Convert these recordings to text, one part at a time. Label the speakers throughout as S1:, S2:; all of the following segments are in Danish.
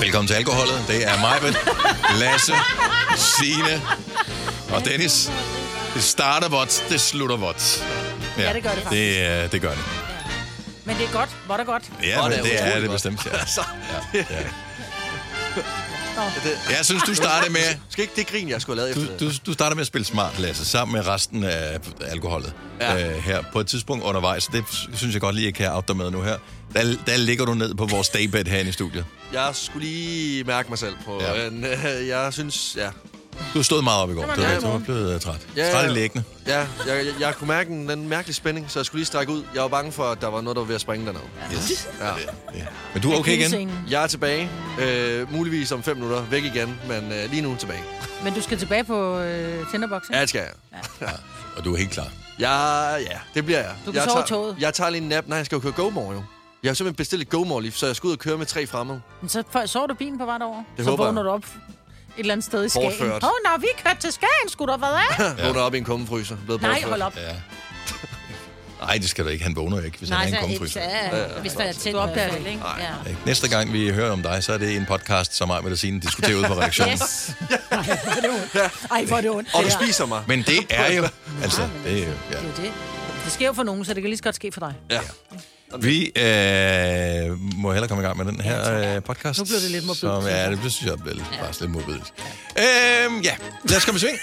S1: Velkommen til alkoholet. Det er mig, Lasse, Signe og Dennis. Det starter vådt, det slutter vådt.
S2: Ja, det gør det faktisk.
S1: Det, øh, det gør det.
S2: Men det er godt. Hvor er det godt?
S1: Ja,
S3: Vådt
S1: men
S3: er
S1: det er
S3: utroligt
S1: det
S3: godt.
S1: bestemt. Ja.
S3: Altså,
S1: Jeg synes, du starter med...
S3: skal ikke det grin, jeg skulle have lavet efter
S1: Du, du, du starter med at spille smart, Lasse, sammen med resten af alkoholet ja.
S3: Ja.
S1: øh, her på et tidspunkt undervejs. Det synes jeg godt lige, jeg kan out dig med nu her. Der, der ligger du ned på vores daybed herinde i studiet.
S3: det. Jeg skulle lige mærke mig selv på,
S1: Ja.
S3: ja. en, øh, jeg synes, ja.
S1: Du stod meget op i går.
S2: Det var
S1: Du, du
S2: en dejlig
S1: var
S2: morgen.
S1: blevet øh, træt.
S3: Ja,
S1: Træt i
S3: ja.
S1: læggende.
S3: Ja, jeg, jeg, jeg kunne mærke en, den mærkelige spænding, så jeg skulle lige strække ud. Jeg var bange for, at der var noget, der var ved at springe dernede.
S1: Yes.
S3: Ja.
S1: Ja. Men du er okay igen?
S2: Pilsengen.
S3: Jeg er tilbage, øh, muligvis om 5 minutter, væk igen, men øh, lige nu tilbage.
S2: Men du skal tilbage på øh, Tinderboxen.
S3: Ja, det skal jeg.
S1: Og du er helt klar.
S3: Ja, ja, det bliver jeg.
S2: Du kan
S3: jeg
S2: sove i
S3: tager,
S2: toget.
S3: Jeg tager lige en nap. Nej, jeg skal jo køre GoMore jo. Jeg har simpelthen bestilt et GoMore lige, så jeg skal ud og køre med tre fremmede.
S2: Men så for, sover du bilen på vej derover.
S3: Det
S2: så
S3: håber
S2: vågner
S3: jeg.
S2: du op et eller andet sted i Skagen.
S3: Bortført.
S2: Åh, oh, når vi kørte til Skagen, skulle der være af?
S3: Ja. Vågner op i en kummefryser. Blevet
S2: Nej,
S3: bortført.
S2: hold op.
S1: Ja. Nej, det skal du ikke. Han vågner jo ikke, hvis Nej,
S4: Nej,
S1: han er
S4: så
S1: en
S4: ikke.
S1: kongefryser.
S4: Ja, hvis der er øh, tæt
S2: Du opdager
S4: på,
S2: det.
S4: ikke? Ja.
S1: Ikke? Næste gang vi hører om dig, så er det i en podcast, som mig med at sige, diskuterer ud på reaktionen.
S4: Yes.
S2: Ej, hvor er det ondt.
S3: Og
S2: det
S3: du
S2: der.
S3: spiser mig.
S1: Men det er jo... Altså, det er jo... Ja.
S2: Det er jo det. Det sker jo for nogen, så det kan lige så godt ske for dig.
S3: Ja.
S1: Vi øh, må hellere komme i gang med den her øh, podcast.
S2: Nu blev det lidt morbidt,
S1: Som,
S2: synes
S1: ja,
S2: jeg.
S1: det blev, synes jeg blev lidt, faktisk lidt morbidt. Øhm, ja, lad os komme i sving.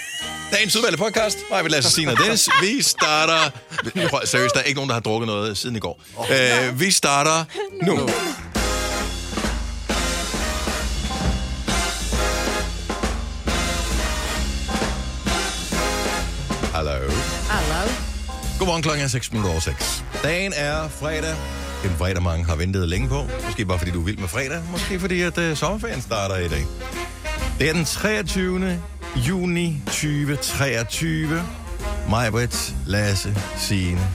S1: Dagens udvalgte podcast. Mig vil Lasse Signe og Dennis. Vi starter... Prøv, seriøst, der er ikke nogen, der har drukket noget siden i går. Øh, vi starter nu. Hallo.
S2: Hello.
S1: Godmorgen klokken er 6 minutter over 6. Dagen er fredag. En fredag, mange har ventet længe på. Måske bare fordi du er vild med fredag. Måske fordi, at øh, sommerferien starter i dag. Det er den 23. juni 2023. Mig, Britt, Lasse, Signe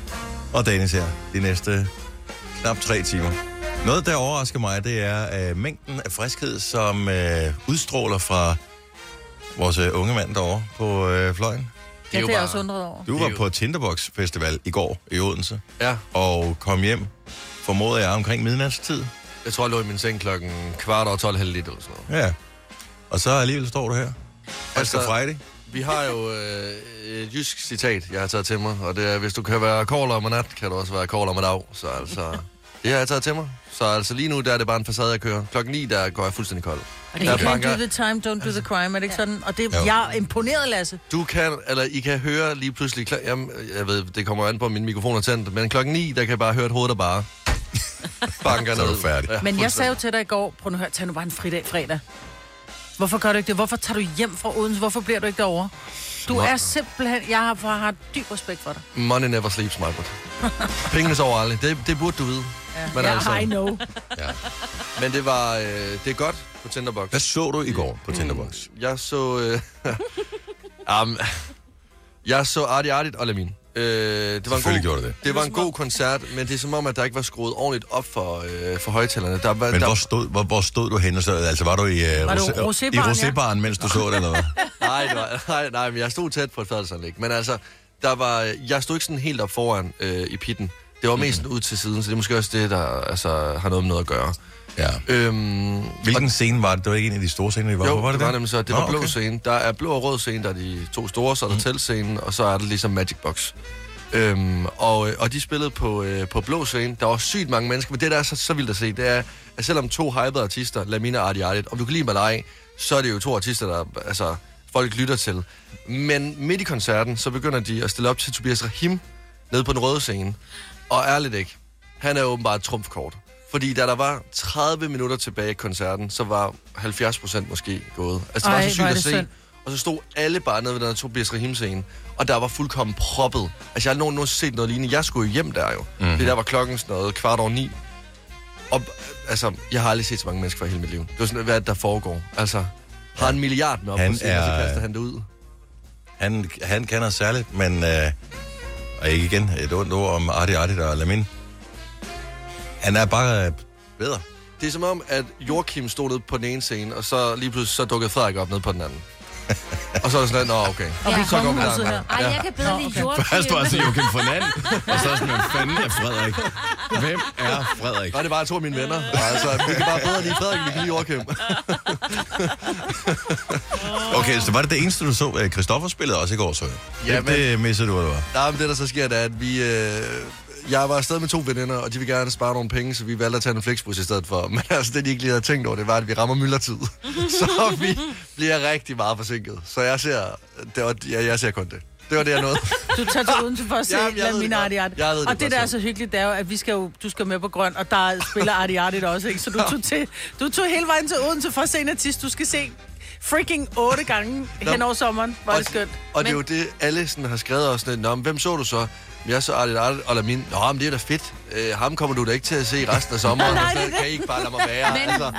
S1: og Dennis her. De næste knap tre timer. Noget, der overrasker mig, det er øh, mængden af friskhed, som øh, udstråler fra vores øh, unge mand derovre på øh, fløjen.
S2: Ja,
S3: jo
S2: det er jeg
S3: bare-
S2: også undret over.
S1: Du
S3: Det
S1: var
S3: er jo-
S1: på Tinderbox Festival i går i Odense,
S3: Ja,
S1: og kom hjem, formoder jeg, omkring midnatstid.
S3: jeg tror, jeg lå i min seng klokken kvart over 12, halv lidt eller sådan noget.
S1: Ja. Og så alligevel står du her. Frisk
S3: Altså-
S1: og Friday.
S3: Vi har jo øh, et jysk citat, jeg har taget til mig, og det er, hvis du kan være kold om en nat, kan du også være kold om en dag. Så altså, det har jeg taget til mig. Så altså lige nu, der er det bare en facade, jeg kører. Klokken 9, der går jeg fuldstændig kold.
S2: Og det
S3: Der
S2: er don't do
S3: banker,
S2: the time, don't do the crime, er det ikke sådan? Og det,
S1: Jo.
S2: jeg er imponeret, Lasse.
S3: du kan, eller I kan høre lige pludselig, kl- jamen, jeg ved, det kommer an på, om min mikrofon er tændt, men klokken 9, der kan jeg bare høre et hoved, der bare banker
S1: Så er du
S3: ned.
S1: færdig.
S3: Ja,
S2: Men jeg sagde jo
S3: fuldstændig.
S2: til dig i går, prøv nu at høre, tag nu bare en fridag fredag. Hvorfor gør du ikke det? Hvorfor tager du hjem fra Odense? Hvorfor bliver du ikke derovre? Du
S3: Nå.
S2: er simpelthen... Jeg har, jeg har dyb respekt for dig.
S3: Money never sleeps, my butt. Pengene sover aldrig. Det, det burde du vide. Ja. Men,
S2: Ja, I
S3: altså,
S2: know.
S1: Ja.
S3: men det var, øh, det er godt på Tinderbox.
S1: Hvad så du i går
S3: Mm.
S1: på Tinderbox?
S3: Jeg så... Øh, um, jeg så Arti Artit og Lamin. Øh, det var en
S1: Selvfølgelig
S3: god,
S1: gjorde du det.
S3: det var en god koncert, men det er som om, at der ikke var skruet ordentligt op for, øh, for højtalerne. Der, var,
S1: Men
S3: der,
S1: hvor stod, hvor, hvor stod du henne? Så, altså, var du i, øh,
S2: Var du
S1: rosé-
S2: rosébaren,
S1: i
S2: ja?
S1: rosébaren, mens du så det, eller hvad?
S3: nej, det var, nej, nej, men jeg stod tæt på et fadelsanlæg. Men altså, der var, jeg stod ikke sådan helt op foran øh, i pitten. Det var mest
S1: Mhm.
S3: ud til siden, så det er måske også det, der altså, har noget med noget at gøre.
S1: Ja.
S3: Øhm,
S1: Hvilken scene var det? Det var ikke en af de store scener, I var
S3: Jo,
S1: på,
S3: var det, det var
S1: det?
S3: nemlig så. Det
S1: Nå,
S3: var blå
S1: okay.
S3: okay. scene. Der er blå og rød scene, der er de to store, så er der mm. teltscenen, og så er der ligesom Magic Box. Øhm, og, øh, og de spillede på, øh, på blå scene. Der var sygt mange mennesker, men det, der er så, så vildt at se, det er, at selvom to hypede artister, Lamina og Artie Artit, om du kan lide mig eller ej, så er det jo to artister, der altså, folk lytter til. Men midt i koncerten, så begynder de at stille op til Tobias Rahim nede på den røde scene. Og ærligt ikke, han er åbenbart et trumfkort. Fordi da der var 30 minutter tilbage i koncerten, så var 70 procent måske gået. Altså, det
S2: Ej,
S3: var så
S2: hvor
S3: sygt
S2: er
S3: at
S2: det
S3: se.
S2: synd.
S3: Og så stod alle bare nede ved den her Tobias Rahim scene, og der var fuldkommen proppet. Altså, jeg har nogen set noget lignende. Jeg skulle jo hjem der jo.
S1: Mhm.
S3: Mm. Det der var klokken sådan noget, kvart over ni. Og, øh, altså, jeg har aldrig set så mange mennesker i hele mit liv. Det var sådan, hvad er det, der foregår? Altså, har en milliard med op
S1: Han
S3: på scenen, og så
S1: er-
S3: kaster han det ud.
S1: Han, han kender særligt, men... Øh, og ikke igen et ondt ord om Arti Arti og Lamin. Han er bare øh, bedre.
S3: Det er som om, at Joachim stod nede på den ene scene, og så lige pludselig så dukkede Frederik op nede på den anden. Og så er det sådan, nå, okay.
S2: Og vi
S3: Så går
S2: kommer
S3: vi der.
S2: huset her.
S4: Ej, jeg kan bedre
S2: Nå,
S4: lide
S2: okay.
S4: jordklima.
S1: Først var det sådan Joachim Fernand, og så er sådan, hvem fanden er Frederik? Hvem er Frederik?
S3: Nå, det var to af mine venner. Altså, vi kan bare bedre lide Frederik, end vi kan lide Joachim.
S1: Okay, så var det det eneste, du så. Øh, Christoffer spillede også i går, så jeg.
S3: Ja,
S1: det,
S3: men-
S1: det missede du, eller hvad?
S3: Nej, men det, der så sker, det er, at vi... Øh, jeg var afsted med to veninder, og de vil gerne spare nogle penge, så vi valgte at tage en flexbus i stedet for. Men altså, det de ikke lige havde tænkt over, det var, at vi rammer myldretid. Så vi bliver rigtig meget forsinket. Så jeg ser, det var, jeg, jeg ser kun det. Det var det, jeg nåede.
S2: Du tager til Odense for at se
S3: Jamen, jeg ved
S2: Jamen,
S3: det
S2: mine
S3: godt.
S2: Arti Arti.
S3: Jeg ved det
S2: Og det,
S3: godt
S2: der er
S3: selv.
S2: så hyggeligt, det er jo, at vi skal jo, du skal med på grøn, og der spiller Arti Arti der også, ikke? Så du tog, til, du tog hele vejen til Odense for at se en artist, du skal se freaking otte gange
S3: Nå.
S2: hen over sommeren. Var det skønt.
S3: Og det er
S2: Men-
S3: jo det, alle sådan har skrevet os lidt. Nå, men hvem så du så? Jeg så Arlit Arlit og Lamin. Nå, men det er da fedt. Øh, ham kommer du da ikke til at se resten af sommeren.
S2: Nej,
S3: og
S2: nej,
S3: så
S2: det er
S3: kan I ikke bare lade mig være.
S4: Men
S3: altså,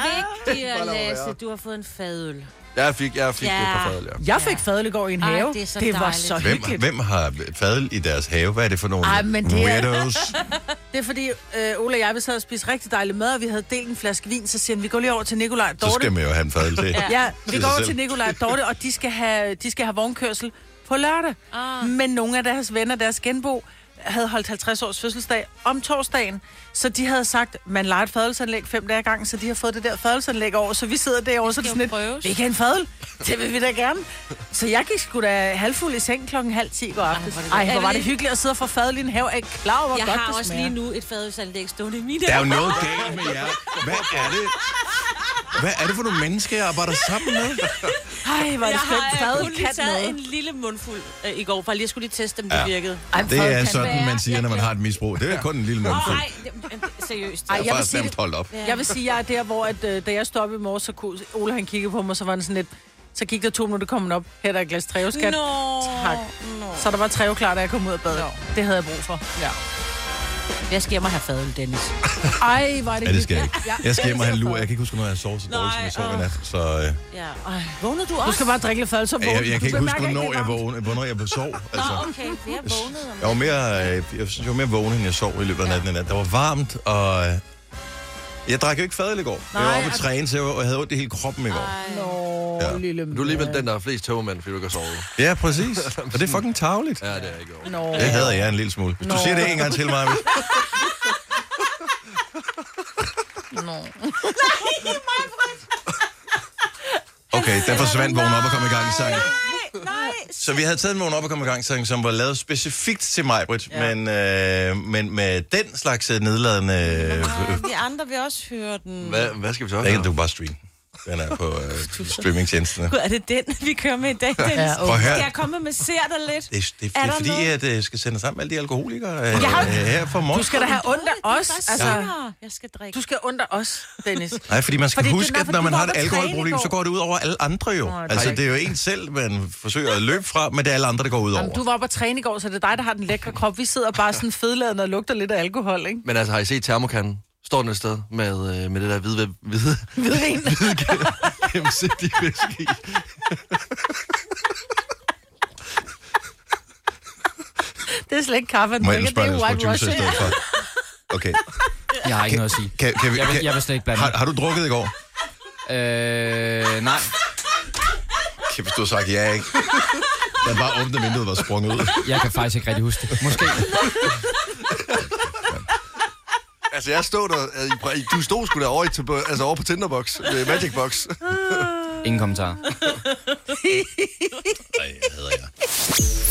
S4: vigtigere,
S3: Bare lad mig
S4: Lasse,
S3: være.
S4: du har fået en fadøl.
S3: jeg fik, jeg fik
S4: Ja.
S3: ja. det på fadel, ja.
S2: Jeg fik fadelegård i en
S4: Ej,
S2: have.
S4: det er så
S2: det var
S4: dejligt.
S2: så
S1: Hvem,
S2: hyggeligt.
S1: hvem har fadel i deres have? Hvad er det for nogle
S2: Ej,
S1: Ej,
S2: men
S1: men
S2: det er-
S1: weirdos?
S2: Det er fordi, øh, Ole og jeg, vi sad og spiste rigtig dejlig mad, og vi havde delt en flaske vin, så siger han, vi går lige over til Nikolaj og
S1: Så
S2: Dorte.
S1: skal man jo have en fadel til.
S2: Ja, vi
S1: sig
S2: går over
S1: selv.
S2: til Nikolaj og Dorte, og de skal have, de skal have vognkørsel på lørdag.
S4: Ah.
S2: Men nogle af deres venner, deres genbo, havde holdt 50 års fødselsdag om torsdagen. Så de havde sagt, man leger et fadelsanlæg fem dage ad gangen, så de har fået det der fadelsanlæg over. Så vi sidder derovre, så er det
S4: skal
S2: sådan
S4: jo
S2: lidt,
S4: prøves.
S2: vi kan en fadel. Det vil vi da gerne. Så jeg gik sgu da halvfuld i seng klokken halv ti i går aftes.
S4: hvor er det
S2: Ej,
S4: godt.
S2: hvor var det
S4: Er vi-
S2: hyggeligt at sidde og få fadel i en have. Er I klar over, hvor
S4: Jeg
S2: godt
S4: har
S2: det
S4: også
S2: smager?
S4: lige nu et fadølsanlæg stående i min
S1: Der er jo noget galt med jer. Hvad er det? Hvad er det for nogle mennesker, jeg arbejder sammen med?
S2: Ej, hvor er
S4: Jeg
S2: det skønt.
S4: har øh, kun
S2: Fadel
S4: lige
S2: kan
S4: taget
S2: noget.
S4: en lille mundfuld øh, i går, for jeg lige skulle lige teste, om det
S1: Ja.
S4: virkede.
S2: Ej,
S1: Det
S2: fadøl
S1: er
S2: kan
S1: sådan,
S4: være.
S1: man siger, når man har et misbrug. Det er kun en lille
S4: Åh,
S1: mundfuld.
S4: nej, det- det- seriøst.
S1: Jeg
S2: Ej, jeg
S1: er
S2: vil
S1: faktisk
S2: sige
S1: nemt
S2: det.
S1: holdt op.
S4: Ja.
S2: Jeg vil sige, jeg er der, hvor at, øh, da jeg stod op i morges, så kunne, Ole han kiggede på mig, så var han sådan lidt... Så gik der to minutter, kom han op. Her er der et glas treo, skat.
S4: Nå,
S2: Tak.
S4: nå.
S2: Så der var treo klar, da jeg kom ud af badet. Det havde jeg brug for. Ja.
S4: Jeg skal hjem og have fadøl, Dennis.
S2: Ej, var det
S1: Ja, det skal jeg
S2: hyggeligt.
S1: ikke.
S2: Ja.
S1: Jeg skal hjem og have en lur. Jeg kan ikke huske, når jeg sov så dårligt, som jeg sov i nat. Så øh,
S4: Ja. Ej, vågnede du også?
S2: Du skal bare drikke lidt fadøl, så vågner
S1: jeg, jeg
S2: du.
S1: kan ikke
S2: Du
S1: huske,
S2: bemærker
S1: hvornår
S2: det er
S1: jeg,
S2: varmt.
S1: vågnede, hvornår jeg sov. Altså.
S4: Nå, okay, for jeg vågnede om
S1: Jeg var mere, øh, jeg synes, jeg var mere vågen, end jeg sov i løbet af natten i nat. Der var varmt, og øh, jeg drak jo ikke fadøl i går. Nej, jeg
S2: Nej,
S1: var oppe at
S2: og-
S1: træne, så jeg var- jeg havde ondt i hele kroppen i går.
S2: Nå,
S1: Ja.
S2: lille
S3: Du er alligevel den, der har flest togmænd, fordi du ikke har sovet.
S1: Ja, præcis. Og det er fucking tageligt.
S3: Ja, det er jeg ikke over.
S2: Nå.
S1: Det hader jeg en lille smule. Hvis du
S2: Nå.
S1: siger det en gang til mig,
S2: Nå.
S1: Okay, der forsvandt vågen op og kom i gang sang.
S4: Nej, nej.
S1: Så vi havde taget en vågen op og kom i gang sang, som var lavet specifikt til mig, Britt,
S2: Ja.
S1: men, øh, men med den slags øh, nedladende... Øh,
S4: De andre vil også høre den.
S3: Hvad, hvad skal vi så
S1: den kan
S3: gøre?
S1: du bare streame. Den er på øh, streamingtjenesterne.
S4: Gud, er det den, vi kører med i dag, Dennis?
S2: Ja,
S1: Prøv at høre.
S4: Skal jeg komme med ser dig lidt?
S1: Det, er- det,
S4: Er
S1: det er
S4: der
S1: fordi,
S4: noget?
S1: at jeg skal sende sammen med alle de alkoholikere øh,
S2: Jeg har-
S1: øh, her for morgen.
S2: Du skal da have ondt af os. Altså,
S4: Jeg skal drikke.
S2: du skal have ondt af os, Dennis.
S1: Nej, fordi man skal fordi
S2: Fordi det er
S1: huske,
S2: nok,
S1: at
S2: fordi
S1: når
S2: du
S1: man
S2: var
S1: har et
S2: oppe at træne
S1: alkoholproblem,
S2: i går.
S1: så går det ud over alle andre jo.
S2: Nå, det er
S1: altså, det
S2: rigtigt.
S1: er jo en selv, man forsøger at løbe fra, men det er alle andre, det går ud over.
S2: Jamen, du var oppe og træne i går, så det er dig, der har den lækre krop. Vi sidder bare sådan fedladende og lugter lidt af alkohol, ikke?
S3: Men altså, har I set termokanden? Står den et sted med, øh, med det der hvide, hvide,
S2: Hvidvin.
S3: gennemsigtige væske i?
S2: Det er slet ikke kaffe, han
S1: Må jeg
S2: drikker. Det
S1: spørge
S2: er
S1: dig,
S2: white
S1: hvor juice i
S2: washing.
S1: stedet for? Okay.
S5: Jeg har ikke noget at sige.
S1: Kan, kan vi,
S5: Jeg vil, jeg
S1: kan,
S5: vil slet ikke blande
S1: har, har du drukket i går?
S5: mig. Øh, nej,
S1: Kan hvis du har sagt ja, ikke? Jeg bare åbnet vinduet og var sprunget ud.
S5: jeg kan faktisk ikke rigtig huske det. Måske.
S3: Altså, jeg stod der... øh, i- Du stod sgu derovre, i, tilbø- altså, over på Tinderbox, med Magic Box.
S5: Ingen kommentarer.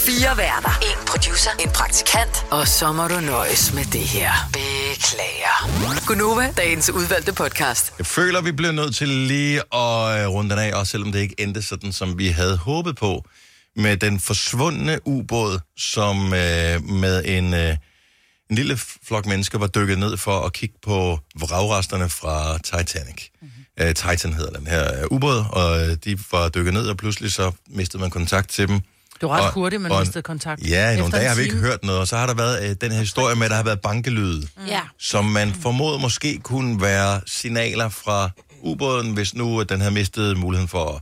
S6: Fire værter. En producer. En praktikant. Og så må du nøjes med det her. Beklager. Gunova, dagens udvalgte podcast.
S1: Jeg føler, vi bliver nødt til lige at øh, runde den af, også selvom det ikke endte sådan, som vi havde håbet på, med den forsvundne ubåd, som øh, med en, øh, en lille flok mennesker var dykket ned for at kigge på vragresterne fra Titanic.
S2: Mhm.
S1: Mm-hmm. Øh, Titan hedder den her øh, ubåd, og øh, de var dykket ned, og pludselig så mistede man kontakt til dem.
S2: Det var ret
S1: Og-
S2: hurtigt, man
S1: og-
S2: mistede kontakt.
S1: Ja, i nogle
S2: Efter en
S1: dage har vi ikke
S2: time.
S1: hørt noget, og så har der været øh, den her historie med, at der har været bankelyde
S4: Ja.
S1: som man formoder måske kunne være signaler fra ubåden, hvis nu at den havde mistet muligheden for at,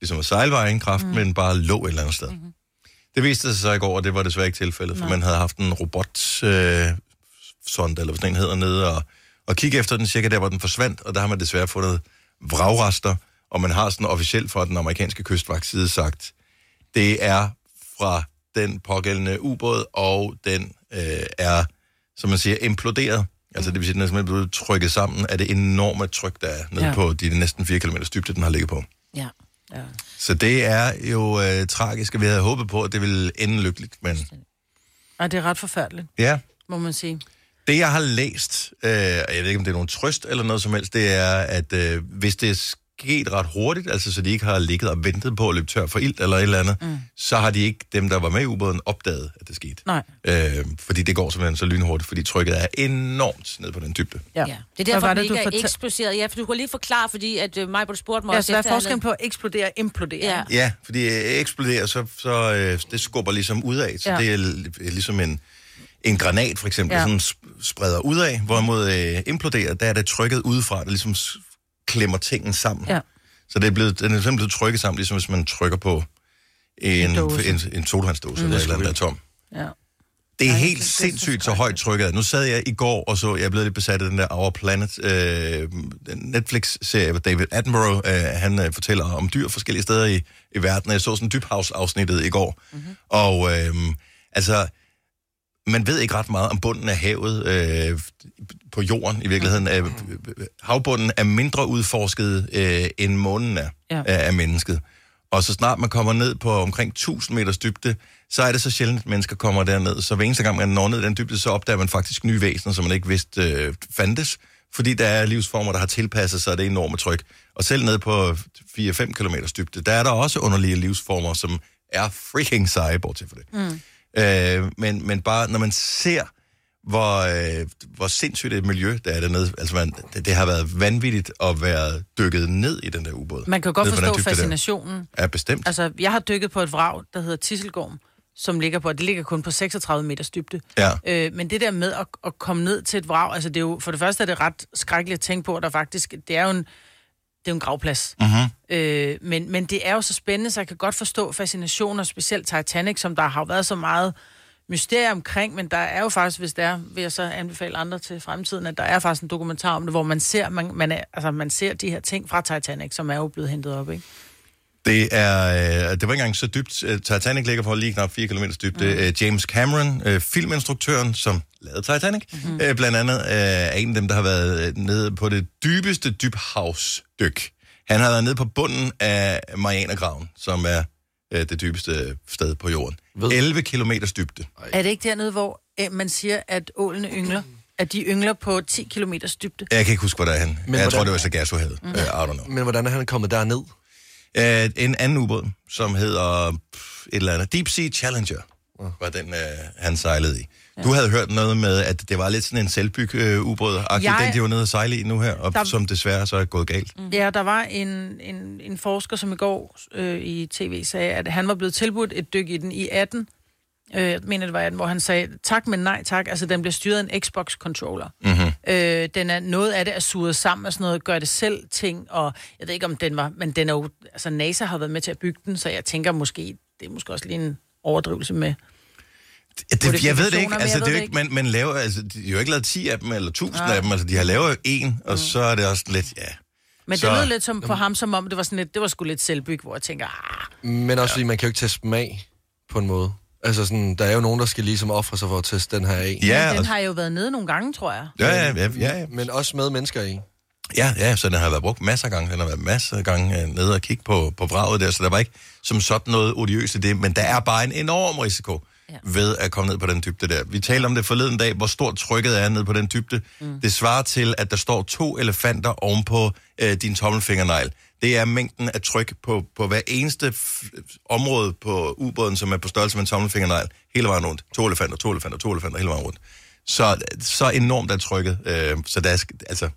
S1: ligesom at sejle var ingen kraft, mm. men bare lå et eller andet sted. Mm-hmm. Det viste sig så i går, og det var desværre ikke tilfældet, for man havde haft en robot øh, sonde, eller hvad sådan en hedder, nede og, og kigge efter den cirka der, hvor den forsvandt, og der har man desværre fundet vragrester, og man har sådan officielt fra den amerikanske kystvagtside sagt, Det er fra den pågældende ubåd, og den øh, er, som man siger, imploderet. Altså det vil sige, den er simpelthen blevet trykket sammen af det enorme tryk, der er nede
S2: Ja.
S1: ja. på de næsten 4 km dybde, den har ligget på.
S2: Ja. ja.
S1: Så det er jo øh, tragisk, og vi havde håbet på, at det ville ende lykkeligt. Men
S2: Og det er ret forfærdeligt,
S1: ja,
S2: må man sige.
S1: det jeg har læst, øh, og jeg ved ikke, om det er nogen trøst eller noget som helst, det er, at øh, hvis det er sket ret hurtigt, altså så de ikke har ligget og ventet på at løbe tør for ild eller et eller andet, mm. så har de ikke, dem der var med i ubåden, opdaget, at det skete.
S2: Nej.
S1: Øh, fordi det går simpelthen så lynhurtigt, fordi trykket er enormt ned på den dybde.
S2: Ja.
S7: Ja. Det er derfor,
S2: Hvad var
S7: det,
S2: det,
S7: ikke
S2: du
S7: er
S2: fortal-
S7: eksploseret. Ja, for du kan lige forklare, fordi at øh, Majbert spurgte mig
S2: Ja,
S7: også
S2: så hvad er
S7: efter, han
S2: forskellen på at eksplodere og implodere?
S7: havde- Ja.
S1: Ja, fordi øh, eksploderer, så, så øh, det skubber ligesom udad, så ja.
S2: Ja.
S1: det er li- ligesom en, en granat for eksempel, ja.
S2: Ja.
S1: som sp- spreder udad, hvorimod øh, imploderer, der er det trykket udefra, der ligesom s- klemmer tingene sammen.
S2: Ja.
S1: Så det er blevet, den er simpelthen blevet trykket sammen, ligesom hvis man trykker på en, en,
S2: dåse.
S1: en, en sodavandsdåse mm. eller et eller andet, der er tom.
S2: ja.
S1: Det er
S2: Ej,
S1: helt
S2: det- det er så
S1: sindssygt så højt trykket. er. Nu sad jeg i går og så, jeg er blevet lidt besat af den der Our Planet øh, Netflix-serie, hvor David Attenborough, øh, han øh, fortæller om dyr forskellige steder i, i verden. Jeg så sådan dybhavsafsnittet i går. Mm-hmm.
S2: Mhm.
S1: Og øh, altså, man ved ikke ret meget om bunden af havet øh, på jorden i virkeligheden. Øh, havbunden er mindre udforsket, øh, end månen er ja.
S2: Ja.
S1: af, af mennesket. Og så snart man kommer ned på omkring 1000 meters dybde, så er det så sjældent, at mennesker kommer derned. Så hver eneste gang, man når ned i den dybde, så opdager man faktisk nye væsener, som man ikke vidste øh, fandtes. Fordi der er livsformer, der har tilpasset sig det enorme tryk. Og selv ned på 4-5 km dybde, der er der også underlige livsformer, som er freaking seje, bortset for det. Mm. Øh, men, men bare, når man ser, hvor, øh, hvor sindssygt et miljø der er dernede. Altså, man, det, det har været vanvittigt at være dykket ned i den der ubåd.
S2: Man kan godt
S1: Ned på den
S2: forstå
S1: dybde der.
S2: fascinationen.
S1: Ja, bestemt.
S2: Altså, jeg har dykket på et vrag, der hedder Tisselgården, som ligger på, det ligger kun på 36 meters dybde.
S1: Ja.
S2: Øh, men det der med at, at komme ned til et vrag, altså det er jo, for det første er det ret skrækkeligt at tænke på, at der faktisk, det er jo en, det er jo en gravplads. Mm-hmm. Øh, men, men det er jo så spændende, så jeg kan godt forstå fascinationen, og specielt Titanic, som der har jo været så meget mysterier omkring, men der er jo faktisk, hvis det er, vil jeg så anbefale andre til fremtiden, at der er faktisk en dokumentar om det, hvor man ser, man, man, er, altså, man ser de her ting fra Titanic, som er jo blevet hentet op, ikke?
S1: Det, er, øh, det var ikke engang så dybt. Øh, Titanic ligger på lige knap 4 km dybde. Mm. James Cameron, øh, filminstruktøren, som lavede Titanic,
S2: Mm-hmm.
S1: mm. øh, blandt andet øh, er en af dem, der har været øh, nede på det dybeste dybhavsdyk. Han har været nede på bunden af Marianergraven, som er øh, det dybeste sted på jorden.
S3: Ved-
S1: 11 km dybde.
S2: Er det ikke dernede, hvor øh, man siger, at ålene yngler? At de yngler på 10 km dybde?
S1: Jeg kan ikke huske, hvor der er han. Men jeg
S3: hvordan-
S1: tror, det var Sargassohavet.
S2: Mhm.
S1: Mm. Uh, I don't know.
S3: Men hvordan er han kommet derned?
S1: Øh, en anden ubåd, som hedder pff, et eller andet. Deep Sea Challenger var den, øh, han sejlede i. Du havde hørt noget med, at det var lidt sådan en selvbyg øh, ubåd
S2: Jeg-
S1: den de var nede og sejle i nu her, og
S2: Der-
S1: som desværre så er gået galt. Mm.
S2: Ja, der var en, en, en forsker, som i går øh, i tv sagde, at han var blevet tilbudt et dyk i den i 18. Øh, jeg mener, det var 18, hvor han sagde, tak, men nej tak. Altså, den bliver styret af en Xbox-controller. Mm-hmm. Øh, den er, noget af det er suget sammen og sådan noget, gør det selv ting, og jeg ved ikke, om den var, men den er jo, altså NASA har været med til at bygge den, så jeg tænker måske, det er måske også lige en overdrivelse med.
S1: Det, jeg ved det ikke,
S2: Modifikationer,
S1: altså,
S2: men
S1: det er
S2: jeg ved
S1: jo
S2: det
S1: ikke, man, man laver, altså, de har jo ikke lavet 10 af dem, eller 1000 af dem, altså, de har lavet en,
S2: Mm.
S1: og så er det også lidt, ja.
S2: Men
S1: Så-
S2: det lød lidt som på ham, som om det var sådan lidt, det var sgu lidt selvbyg, hvor jeg tænker, ah,
S3: Men også ja. fordi, man kan jo ikke teste dem af på en måde. Altså sådan, der er jo nogen, der skal ligesom ofre sig for at teste den her af.
S2: ja,
S1: Ja, altså-
S2: den
S1: og,
S2: har jo været nede nogle gange, tror jeg.
S1: ja, ja, ja, ja, ja.
S3: Men også med mennesker i.
S1: Ja, ja, så den har været brugt masser af gange. Den har været masser af gange øh, nede og kigge på, på vraget der, så der var ikke som sådan noget odiøst i det, men der er bare en enorm risiko ja. ved at komme ned på den dybde der. Vi talte om det forleden dag, hvor stort trykket er ned på den dybde. Mm. Det svarer til, at der står to elefanter ovenpå øh, din tommelfingernegl. Det er mængden af tryk på, på hver eneste f- område på ubåden, som er på størrelse med en tommelfingernegl, hele vejen rundt. To elefanter, to elefanter, to elefanter, hele vejen rundt. Så, så enormt er trykket. Øh, så der er, sk- altså,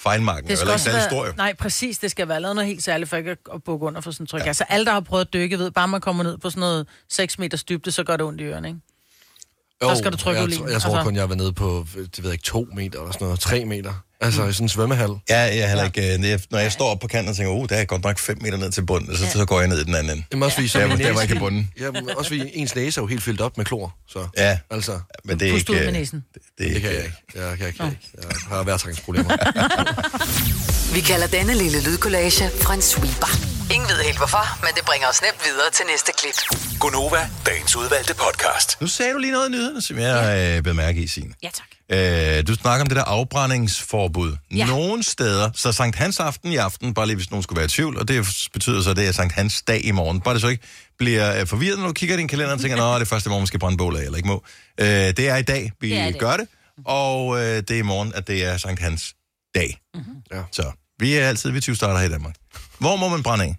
S1: fejlmarken er jo heller ikke særlig stor, jo.
S2: nej, præcis, det skal være lavet noget helt særligt, for ikke at- at bukke under for sådan et tryk. Ja. Altså alle, der har prøvet at dykke, ved, bare man kommer ned på sådan noget 6 meters dybde, så gør det ondt i ørerne, ikke?
S3: Jo,
S2: skal du trykke
S3: jeg,
S2: ud lige.
S3: tr- jeg tror
S2: Altså-
S3: kun, jeg har været nede på, det ved jeg ikke, to meter eller sådan noget, tre meter. Altså i sådan en svømmehal.
S1: Ja, jeg er heller ikke, øh, når jeg- når jeg står op på kanten og tænker, uh, der er godt nok 5 meter ned til bunden, så, så går jeg ned i den anden ende.
S3: Jamen også fordi, så
S1: Der,
S3: er
S1: hvor-
S3: min
S1: der var
S3: næse-
S1: ikke er bunden.
S3: Ja, men også fordi ens næse er jo helt fyldt op med klor, så...
S1: Ja,
S3: Altså,
S1: men det er
S2: Pust
S1: ikke...
S2: ud
S1: øh,
S2: med næsen.
S1: Det, det, er
S3: det kan jeg
S1: ikke.
S3: ikke. Jeg, jeg, kan ikke. jeg har værtrækningsproblemer.
S6: Vi kalder denne lille lydkollage Frans sweeper. Ingen ved helt hvorfor, men det bringer os nemt videre til næste klip.
S8: Gunova, dagens udvalgte podcast.
S1: Nu sagde du lige noget i nyhederne, som jeg øh, bemærker i, Signe.
S7: Ja, tak.
S1: Øh, du snakker om det der afbrændingsforbud. Ja. Nogle steder, så Sankt Hans aften i aften, bare lige hvis nogen skulle være i tvivl, og det betyder så, at det er Sankt Hans dag i morgen. Bare det så ikke bliver øh, forvirret, når du kigger i din kalender og tænker, nå, det er første morgen, man skal brænde bål af, eller ikke må. Øh, det er i dag, vi
S7: Det er
S1: det
S7: i dag.
S1: gør det, og øh, det er i morgen, at det er Sankt Hans dag. Mm-hmm.
S3: Ja.
S1: Så vi er altid, vi 20 starter her i Danmark. Hvor må man brænde af?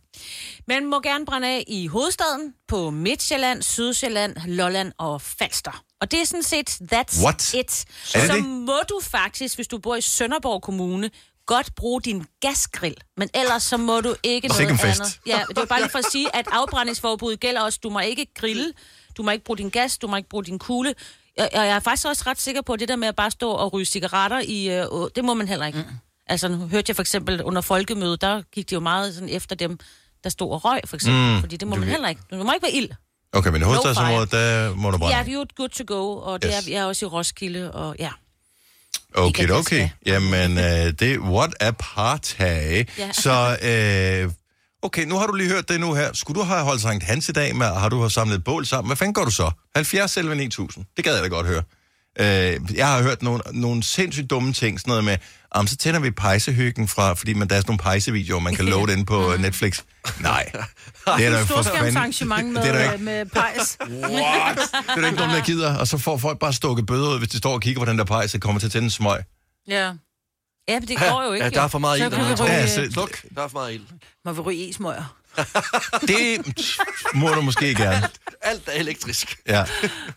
S7: Man må gerne brænde af i hovedstaden, på Midtjylland, Sydsjælland, Lolland og Falster. Og det er sådan set, that's
S1: What?
S7: it.
S1: Er det
S7: så
S1: det?
S7: må du faktisk, hvis du bor i Sønderborg Kommune, godt bruge din gasgrill. Men ellers så må du ikke noget
S1: Sikke en fest.
S7: andet. Ja, det er bare lige for at sige, at afbrændingsforbuddet gælder også. Du må ikke grille, du må ikke bruge din gas, du må ikke bruge din kugle. Og og jeg er faktisk også ret sikker på, at det der med at bare stå og ryge cigaretter, i, øh, å- det må man heller ikke. Mm. Altså, nu hørte jeg for eksempel under folkemødet, der gik de jo meget sådan efter dem, der stod og røg, for eksempel. Mm. Fordi det må man heller ikke. Du må ikke være ild.
S1: Okay, men i hovedstadsområdet,
S7: fire.
S1: der må du brænde
S7: Ja,
S1: af.
S7: vi er jo et good to go, og det
S1: Yes.
S7: er vi er også i Roskilde, og ja.
S1: Okay,
S7: Ikke, at jeg
S1: okay. Jamen, øh, det what a party. Ja.
S7: Ja.
S1: Så, øh, okay, nu har du lige hørt det nu her. Skulle du have holdt Sankt Hans i dag, med, har du have samlet et bål sammen? Hvad fanden gør du så? 70 selv 9000. Det gad jeg da godt høre. Øh, jeg har hørt nogle, nogle sindssygt dumme ting, sådan noget med, om så tænder vi pejsehyggen fra, fordi man, der er sådan nogle pejsevideoer, man kan loade ind på øh, Netflix. Nej. Det er da for fanden.
S2: Storskærmsarrangement med,
S1: Det er der ikke.
S2: øh, med pejs.
S1: What? Det er der ikke nogen, der gider. Og så får folk bare stukket bøder ud, hvis de står og kigger på den der pejse, og kommer til at tænde en smøg.
S2: Ja.
S7: Ja, men det
S3: Ja,
S7: går jo ikke.
S3: ja, der er for meget
S2: Så
S3: ild.
S2: kan vi
S3: dernede, tror
S2: ryge-
S3: jeg.
S1: Ja,
S2: Okay.
S1: så,
S3: Sluk, der er for meget ild.
S2: Må vi ryge esmøger?
S1: Det må du måske gerne.
S3: Alt er elektrisk.
S1: Ja.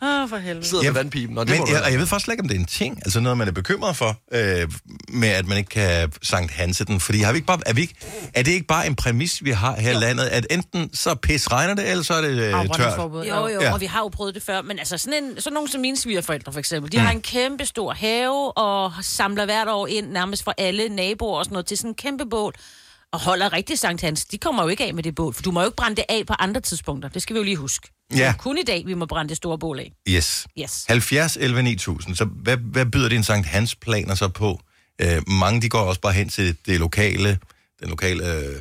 S2: Åh, for helvede.
S3: Sidder
S1: Jamen,
S3: med vandpipen, og det må
S1: Men
S3: du
S1: jeg,
S3: ikke.
S1: og jeg ved faktisk slet ikke, om det er en ting, altså noget, man er bekymret for, øh, med at man ikke kan Sankt Hanse den. Fordi har vi ikke bare, er, vi ikke, er det ikke bare en præmis, vi har her i landet, at enten så pis regner det, eller så er det øh, tørt?
S2: Afbrændingsforbud.
S7: Jo, jo,
S1: Ja.
S7: ja. og vi har jo prøvet det før, men altså sådan, en, sådan nogen som mine svigerforældre for eksempel, de mm. har en kæmpe stor have og samler hvert år ind nærmest for alle naboer og sådan noget til sådan en kæmpe bål og holder rigtig Sankt Hans. De kommer jo ikke af med det bål, for du må jo ikke brænde det af på andre tidspunkter. Det skal vi jo lige huske.
S1: Ja.
S7: Det er Kun i dag, vi må brænde det store bål af.
S1: Yes.
S7: Yes.
S1: 70, 11, 9000. Så hvad, hvad byder din Sankt Hans planer så på? Øh, mange, de går også bare hen til det lokale, den lokale, øh,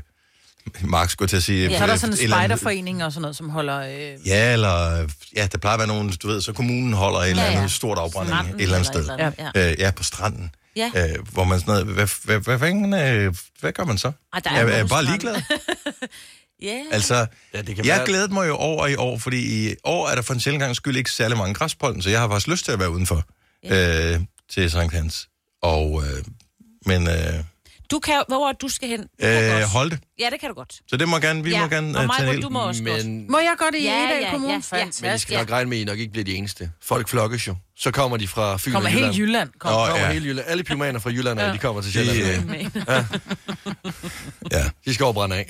S1: Mark skulle jeg til at sige.
S2: Så er der
S1: øh,
S2: sådan
S1: et
S2: en
S1: eller andet-
S2: spejderforening og sådan noget, som holder... Øh,
S1: Ja, eller ja, der plejer at være nogen, du ved, så kommunen holder et eller
S7: Ja, ja.
S1: andet stort afbrænding
S7: Stranden
S1: et eller andet sted.
S7: eller et eller andet,
S1: Ja. Øh, ja, på stranden.
S7: Ja.
S1: Øh, hvor man sådan noget, hvad, hvad, hvad, fanden, øh, hvad gør man så?
S7: Ej, der er
S1: jeg,
S7: jo
S1: jeg er
S7: nogen
S1: bare
S7: strand.
S1: ligeglad.
S7: Yeah.
S1: Altså,
S3: Ja, det kan
S1: jeg
S3: være-
S1: glædede mig jo over i år, fordi i år er der for en sjældent gang skyld ikke særlig mange græspollen, så jeg har faktisk lyst til at være udenfor øh, til Sankt Hans. Og, øh, men øh,
S7: Du kan, jo- hvor er det, du skal hen? Du må
S1: øh,
S7: godt.
S1: hold det.
S7: Ja, det kan du godt.
S1: Så det må gerne, vi
S7: ja.
S1: må gerne
S7: og
S1: øh,
S7: mig,
S1: tage en
S7: du
S1: hel-
S7: må også godt.
S3: Men,
S2: må jeg godt i
S7: Ja,
S2: Egedal
S7: ja, ja,
S2: Kommune?
S7: ja.
S3: men I
S2: Fantastisk.
S3: skal nok regne med, at I nok ikke bliver de eneste. Folk flokkes jo. Så kommer de fra Fyn
S2: Kommer
S3: og
S2: helt
S3: Jylland.
S2: Jylland. Kommer.
S1: Nå,
S2: Oh.
S3: Kommer
S1: Ja.
S3: hele Jylland. Alle pyromaner fra Jylland, ja. de kommer til Sjælland.
S1: De, øh, ja.
S3: De skal overbrænde af.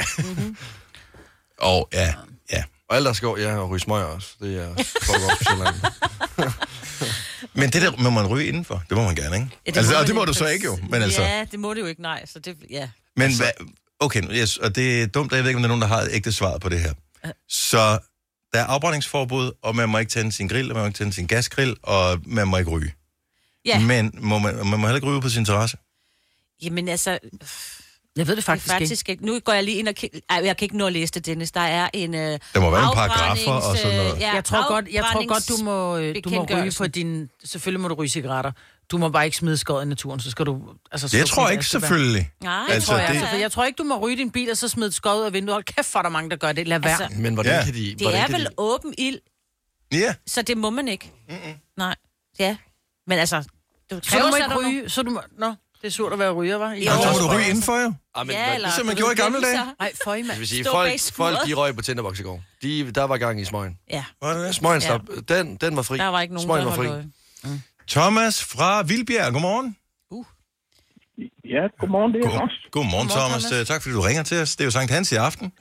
S1: Og ja, ja.
S3: Og alle, der skal over, ja, og ryge smøger også. Det er foregår også på Sjælland.
S1: Men det der må man ryge indenfor. Det må man gerne, ikke? Ja,
S7: Ja,
S1: det altså,
S7: må
S1: og
S7: man
S1: det må
S7: ikke.
S1: du så ikke jo. Men altså,
S7: Ja, det må det jo ikke, nej. Så det, ja.
S1: men altså. Hvad, okay, nu- yes, og det er dumt, og jeg ved ikke, om der er nogen, der har et ægte svar på det her. Så der er afbrændingsforbud, og man må ikke tænde sin grill, og man må ikke tænde sin gasgrill, og man må ikke ryge.
S7: Ja.
S1: Men må man, man må heller ikke ryge ude på sin terrasse.
S7: Jamen altså,
S2: Jeg ved det faktisk,
S7: det er faktisk ikke. Nu går jeg lige ind og kigger. Ej, jeg kan ikke nå at læse det, Dennis. Der er en øh,
S1: Der må være nogle
S7: afbrændings-
S1: paragrafer og sådan noget.
S7: øh,
S2: ikke.
S7: Ja,
S2: Jeg tror, godt, jeg tror godt, du må, øh, du må ryge på
S7: afbrændingsbekendtgørelsen.
S2: din... Selvfølgelig må du ryge cigaretter. Du må bare ikke smide skåret i naturen, så skal du... Altså,
S1: Det jeg
S2: slukke
S1: tror
S2: din
S1: jeg ikke,
S2: askebær.
S1: selvfølgelig.
S7: Nej,
S2: Det
S1: Altså,
S2: altså, tror jeg,
S1: det-
S2: det... altså, for jeg tror ikke, du må ryge din bil, og så smide et skod ud af vinduet. Hold kæft, for der er mange, der gør det. Lad være.
S7: Altså,
S2: Altså,
S3: Men hvordan
S1: Ja.
S3: kan de...
S7: Det
S3: hvordan
S7: er
S3: kan
S7: vel
S3: de...
S7: åben ild,
S1: Ja,
S7: så det må man ikke. Mm-mm. Nej, ja. Men altså, du
S2: så du
S7: kræver
S2: må
S7: så
S2: ikke
S7: ryge.
S2: ryge, så du må... Nå, det er surt at være ryger, var?
S1: ja. så må du ryge indenfor jo.
S3: Ah, men,
S7: Ja, eller,
S1: ligesom man
S7: du
S1: gjorde i
S7: ved,
S1: gamle dage.
S7: så-
S2: Ej, føj, mand.
S3: Hvis sige,
S7: Stå
S3: folk,
S7: bag skuret.
S3: folk de røg på Tinderbox i går. De, der var gang i smøgen.
S7: Ja,
S1: Var det det?
S3: Smøgen slap. Den, den var fri.
S7: der var ikke nogen,
S3: smøgen
S7: der
S3: var fri.
S7: holdt øje.
S1: Thomas fra Vildbjerg, godmorgen.
S9: Ja, godmorgen, det er
S1: God,
S9: Lars.
S1: Uh. godmorgen, Thomas. Thomas. Tak fordi du ringer til os. Det er jo Sankt Hans i aften.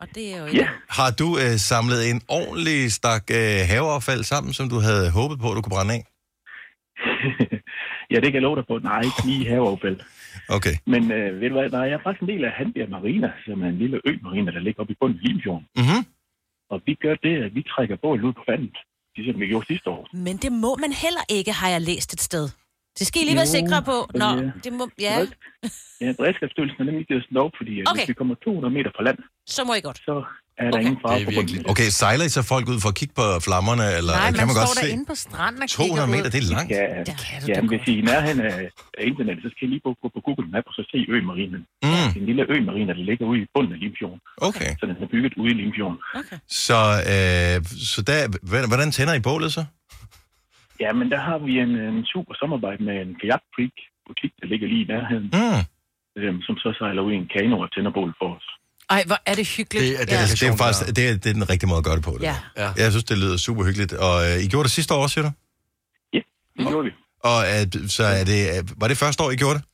S7: Og det er jo
S9: Ja,
S7: ikke...
S1: Har du øh, samlet en ordentlig stak øh, haveaffald sammen, som du havde håbet på, at du kunne brænde af?
S9: ja det kan jeg love dig på. Nej, ikke lige haveaffald.
S1: Okay.
S9: Men øh, ved du hvad, nej, jeg er faktisk en del af Handbjerg Marina, som er en lille ø-marina, der ligger oppe i bunden af Limfjorden.
S2: Mhm.
S1: Mm-hmm.
S9: Og vi gør det, at vi trækker bål ud på vandet, ligesom vi gjorde sidste år.
S7: Men det må man heller ikke, har jeg læst et sted. Det skal I lige være
S9: Jo,
S7: sikre på.
S9: men,
S7: Nå,
S9: øh,
S7: det må, ja,
S9: bered- Ja, beredskabsstyrelsen er nemlig givet os lov, fordi okay.
S7: Okay.
S9: hvis vi kommer 200 meter fra land,
S7: så må I godt.
S9: så er der
S7: Okay.
S9: ingen fare
S3: Det er
S9: på
S3: virkelig-
S9: bunden.
S1: Okay, sejler I så folk ud for at kigge på flammerne, eller
S2: Nej,
S1: kan man
S2: står
S1: godt se?
S2: derinde på stranden og kigger
S1: 200 meter,
S2: ud.
S1: det er langt.
S9: Ja,
S2: Det kan du
S9: ja
S2: da
S9: men hvis I er i nærheden af, af internet, så skal I lige gå, gå på Google Maps og så se Ø-marinen.
S1: Mm,
S9: Det er en lille Ø-marine, der ligger ude i bunden af Limfjorden.
S1: okay.
S9: Så den er bygget ude i Limfjorden.
S1: Så, øh, så der, hvordan- hvordan tænder I bålet så? Mm.
S9: Ja, men der har vi en, en super samarbejde med en kajakprik butik, der ligger lige i nærheden,
S1: Mm.
S9: øhm, som så sejler ud i en kano og tænder bål for os.
S2: Ej, hvor er det hyggeligt.
S3: Det er- det
S1: Ja,
S2: ja.
S1: altså, det er
S3: relation,
S1: faktisk
S3: der-
S1: det er, det er den rigtige måde at gøre det på. Det.
S2: Ja.
S1: der. Jeg synes, det lyder super hyggeligt. Og øh, I gjorde det sidste år, siger du?
S9: Det gjorde vi.
S1: Og øh, så er det, øh, var det første år, I gjorde det?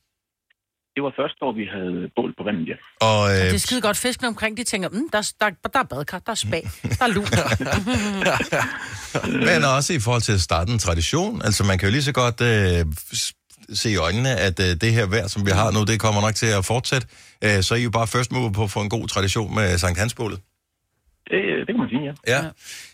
S9: Det var første år, vi havde bål på vandet, ja.
S1: Og, øh,
S2: Det er skide godt. Fiskene omkring, de tænker, mm, der, er- der, der er badkar, der er spa, der er lun.
S1: Men også i forhold til at starte en tradition. Altså, man kan jo lige så godt øh, s- se i øjnene, at øh, det her vejr, som vi har nu, det kommer nok til at fortsætte. Øh, så er I jo bare først mover på at få en god tradition med Sankt Hansbålet.
S9: Det, det kan man sige, ja.
S1: Ja.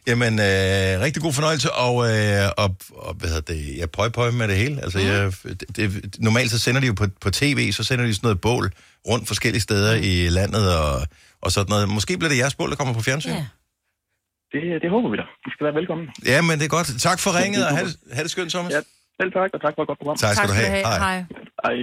S1: Jamen, øh, rigtig god fornøjelse, og, øh, og, og hvad hedder det, jeg pøj pøj med det hele. Altså, jeg, det, det, normalt så sender de jo på, på tv, så sender de sådan noget bål rundt forskellige steder i landet og, og sådan noget. Måske bliver det jeres bål, der kommer på fjernsyn. Ja,
S7: Ja.
S9: Det, det håber vi da. I skal være velkommen.
S1: ja men det er godt. Tak for ringet, og have, det- have det skønt, Thomas. Ja.
S9: Ja. Selv tak, og tak for et godt program.
S1: Tak, skal du have. Hej.
S2: Hej.
S9: Hej.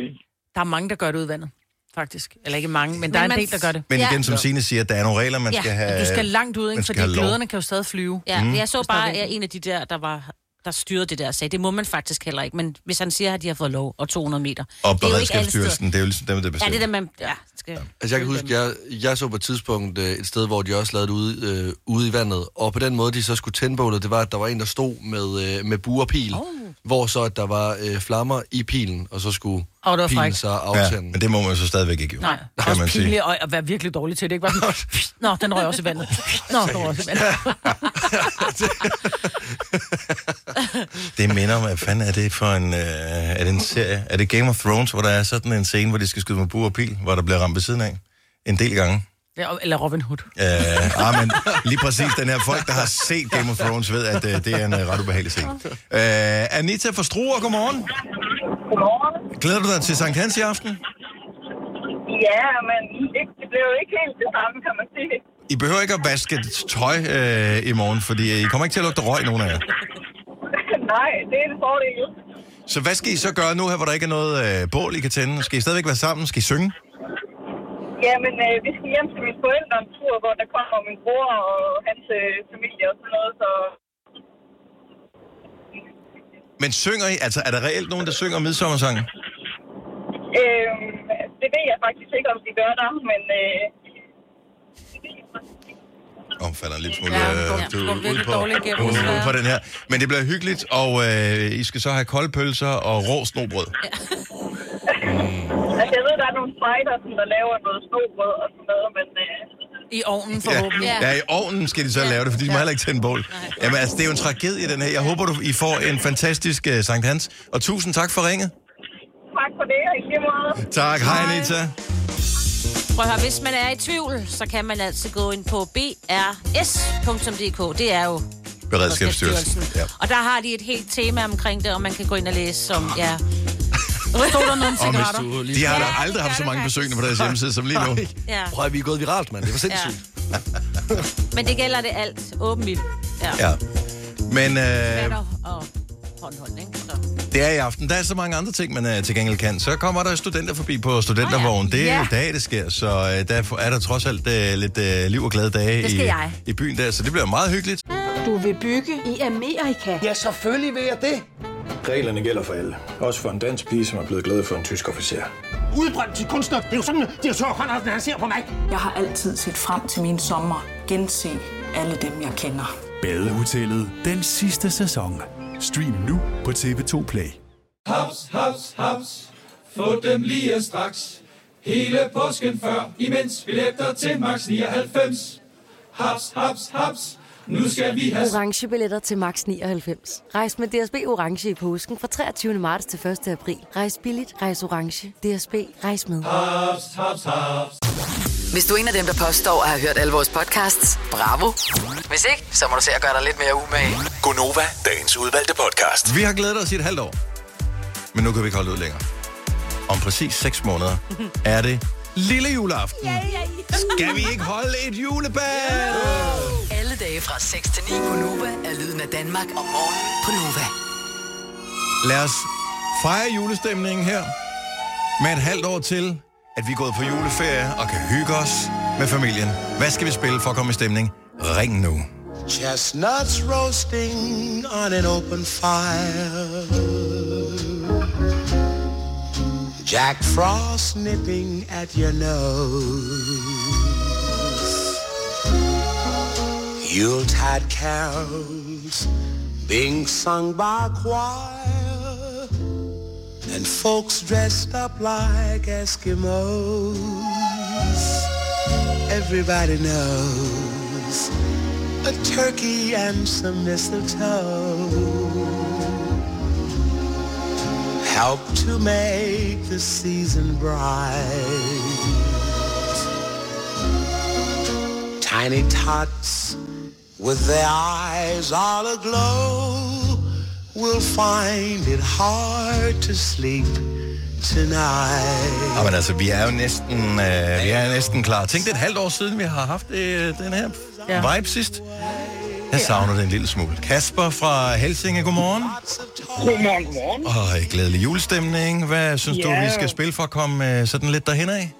S2: Der er mange, der gør det ud i vandet, faktisk. Eller ikke mange, men, men der er en
S7: man-
S2: del, der gør det.
S1: Men
S7: Ja.
S1: igen, som Signe siger, der er nogle regler, man
S7: Ja,
S1: skal have...
S2: Men du skal langt ud, ikke?
S1: man skal
S2: fordi
S1: have lov.
S2: gløderne kan jo stadig flyve.
S7: Ja, mm. jeg så bare
S2: Stadig.
S7: at en af de der, der var der styrede det der og sagde, det må man faktisk heller ikke, men hvis han siger, at de har fået lov og 200 meter.
S1: Og
S7: det er jo ikke alle steder.
S1: Beredskabsstyrelsen, det er jo ligesom dem, der
S7: Ja, det er
S1: bestemmer.
S7: det, man... Ja, skal...
S3: Altså, jeg kan huske, jeg, jeg så på et tidspunkt øh, et sted, hvor de også lavede det ude, øh, ude i vandet, og på den måde, de så skulle tænde bålet, det var, at der var en, der stod med, øh, med buerpil, oh. hvor så, at der var øh, flammer i pilen, og så skulle
S2: Åh, det var
S3: pilen
S2: frækt.
S3: så
S1: Ja,
S3: aftænde.
S1: men det må man jo så stadigvæk ikke jo.
S2: Nej,
S1: kan man
S2: også
S1: sige.
S2: pinligt at, at være virkelig dårlig til det. Ikke? Bare sådan, Nå, den røg også i vandet. Nå, den røg også i vandet.
S1: Det minder om, hvad fanden er det for en, øh, er det en serie? Er det Game of Thrones, hvor der er sådan en scene, hvor de skal skyde med bur og pil, hvor der bliver ramt ved siden af? En del gange.
S2: Ja, og- Eller Robin Hood.
S1: Øh, ah, men lige præcis den her folk, der har set Game of Thrones, ved, at øh, det er en øh, ret ubehagelig scene. Øh, Anita fra Struer, godmorgen.
S10: Godmorgen.
S1: Glæder du dig til Sankt Hans i aften?
S10: Ja, men ikke, det blev jo ikke helt det samme, kan man sige.
S1: I behøver ikke at vaske tøj øh, i morgen, fordi øh, I kommer ikke til at lugte røg, nogen af jer.
S10: Nej, det er en fordel.
S1: Så hvad skal I så gøre nu her, hvor der ikke er noget øh, bål, I kan tænde? Skal I stadigvæk være sammen? Skal I synge?
S10: Jamen, øh, vi skal hjem til mine forældre om tur, hvor der kommer min bror og hans øh, familie og sådan noget, så...
S1: Men synger I? Altså, er der reelt nogen, der synger midsommersangen?
S10: Øh, det ved jeg faktisk ikke, om de gør der, men... Øh,
S1: omfatter en lille smule
S7: Ja,
S1: ja,
S7: den
S1: øh,
S7: går-
S1: du,
S7: den går
S1: ud,
S7: virkelig
S1: på,
S7: dårligt igennem,
S1: ud, ud
S7: desværre.
S1: på den her. Men det bliver hyggeligt, og øh, I skal så have kolde pølser og rå snobrød.
S10: altså, jeg ved, der er nogle spejder, som der laver noget snobrød og sådan noget, men... Øh,
S2: I ovnen forhåbentlig.
S1: Ja. ja, i ovnen skal de så lave det, for de må heller ikke tænde bål. Jamen altså, det er jo en tragedie, den her. Jeg håber, du, I får en fantastisk uh, Sankt Hans. Og tusind tak for ringet.
S10: tak for det, og i lige måde.
S1: Tak. Hej, Anita.
S7: Prøv at høre, hvis man er i tvivl, så kan man altid gå ind på brs.dk. Det er jo
S1: Beredskabsstyrelsen. Ja.
S7: Og der har de et helt tema omkring det, og man kan gå ind og læse som... Ja. Stod der nogle
S1: Og
S7: cigaretter?
S1: hvis du, de har da aldrig haft så mange besøgende på deres hjemmeside som lige nu.
S7: Ja.
S3: Prøv at vi er gået viralt, mand. Det var sindssygt.
S7: Men det gælder det alt. Åben ild. Ja.
S1: Ja. Men øh,
S7: Batter og håndhold, ikke? Så.
S1: Det er i aften. Der er så mange andre ting, man øh, til gengæld kan. Så kommer der studenter forbi på studentervogn. Det er ja. i dag, det sker. Så øh, der er der trods alt øh, lidt øh, liv og glade dage i, i byen der. Så det bliver meget hyggeligt.
S11: Du vil bygge i Amerika?
S12: Ja, selvfølgelig vil jeg det. Reglerne gælder for alle. Også for en dansk pige, som er blevet glad for en tysk officer.
S13: udbrændt til kunstner. Det er jo sådan, at de har tørt, han ser på mig.
S11: Jeg har altid set frem til min sommer, gense alle dem, jeg kender.
S14: Badehotellet den sidste sæson. Stream nu på TV2 Play.
S15: Haps, haps, haps. Få dem lige straks. Hele påsken før, imens billetter til max 99. Haps, haps, haps. Nu skal vi have...
S16: orange billetter til max 99. Rejs med DSB orange i påsken fra 23. marts til 1. april. Rejs billigt, rejs orange. DSB rejs med.
S15: Haps, haps, haps.
S6: Hvis du er en af dem, der påstår at have hørt alle vores podcasts, bravo. Hvis ikke, så må du se at gøre dig lidt mere umage.
S8: Gunova, dagens udvalgte podcast.
S1: Vi har glædet os i et halvt år. Men nu kan vi ikke holde ud længere. Om præcis 6 måneder er det lille juleaften. Skal vi ikke holde et julebal?
S6: Alle dage fra 6 til 9 på Nova er lyden af Danmark om morgenen på Nova.
S1: Lad os fejre julestemningen her med et halvt år til, at vi er gået på juleferie og kan hygge os med familien. Hvad skal vi spille for at komme i stemning? Ring nu.
S17: Chestnuts roasting on an open fire. Jack Frost nipping at your nose. Yuletide carols being sung by a choir. And folks dressed up like Eskimos. Everybody knows a turkey and some mistletoe help to make the season bright. Tiny tots with their eyes all aglow will find it hard to sleep tonight.
S1: Jamen altså, vi er jo næsten, øh, vi er næsten klar. Tænk, det er et halvt år siden, vi har haft øh, den her ja. vibe sidst. Jeg savner det en lille smule. Kasper fra Helsinge, godmorgen.
S10: Godmorgen, godmorgen.
S1: Og øh, glædelig julestemning. Hvad synes du,
S10: Ja.
S1: vi skal spille for at komme øh, sådan lidt derhen af?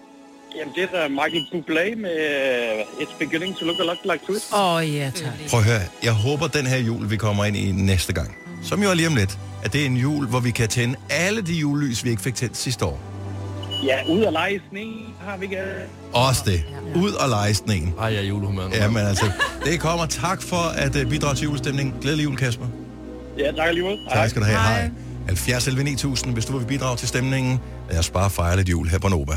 S10: Jamen, det er da Michael Bublé med øh, It's Beginning to Look a Lot Like Christmas.
S2: Åh, oh, ja, tak.
S1: Prøv at høre, jeg håber, den her jul, vi kommer ind i næste gang, som jo er lige om lidt, at det er en jul, hvor vi kan tænde alle de julelys, vi ikke fik tændt sidste år.
S10: Ja, ud og lege i sne har vi ikke... øh,
S1: Også det. Ud og lege i sneen. Ej, jeg er julehumør Ja, men altså, det kommer. Tak for at øh, bidrage til julestemningen. Glædelig jul, Kasper.
S10: Ja, tak alligevel.
S1: Tak skal du have. Hej. 70 11 9000, hvis du vil bidrage til stemningen. Lad os bare fejre lidt jul her på Nova.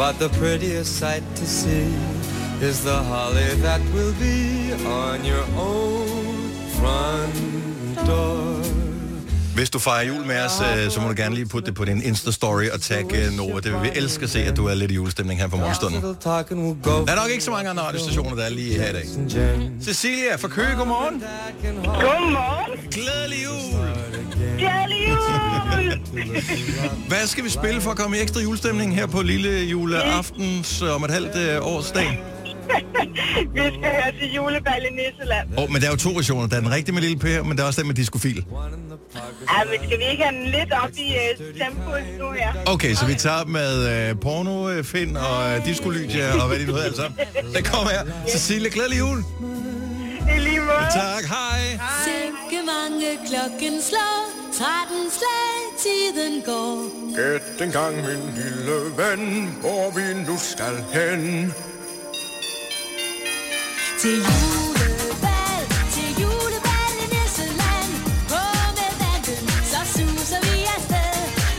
S18: But the prettiest sight to see is the holly that will be on your own front door.
S1: Hvis du fejrer jul med os, øh, så må du gerne lige putte det på din Insta-story og tagge øh, Nova. Det vil vi elske at se, at du er lidt i julestemning her på morgenstunden. Der er nok ikke så mange andre radiostationer, der er lige her i dag. Cecilia fra Køge, godmorgen.
S10: Godmorgen.
S1: Glædelig jul.
S10: Glædelig jul.
S1: Hvad skal vi spille for at komme i ekstra julestemning her på lille juleaftens øh, om et halvt øh, års dag?
S10: vi skal høre er til julebal i Nisseland.
S1: Åh, oh, men der er jo to versioner. Der er den rigtige med lille Per, men der er også den med diskofil.
S10: Ja, men skal vi ikke have den lidt op i uh, tempoet nu her?
S1: Okay, så vi tager med øh, porno, øh, Finn og øh, disco Lydia og hvad det nu hedder alt sammen. Den kommer her. Cecilie, glædelig jul.
S10: I er lige måde.
S1: Tak, hej.
S19: Sikke mange klokken slår, 13 slag, tiden går.
S20: Gæt en gang, min lille ven, hvor vi nu skal hen.
S19: Til julebal, til julebal i Nisseland. På med vanden, så suser vi afsted.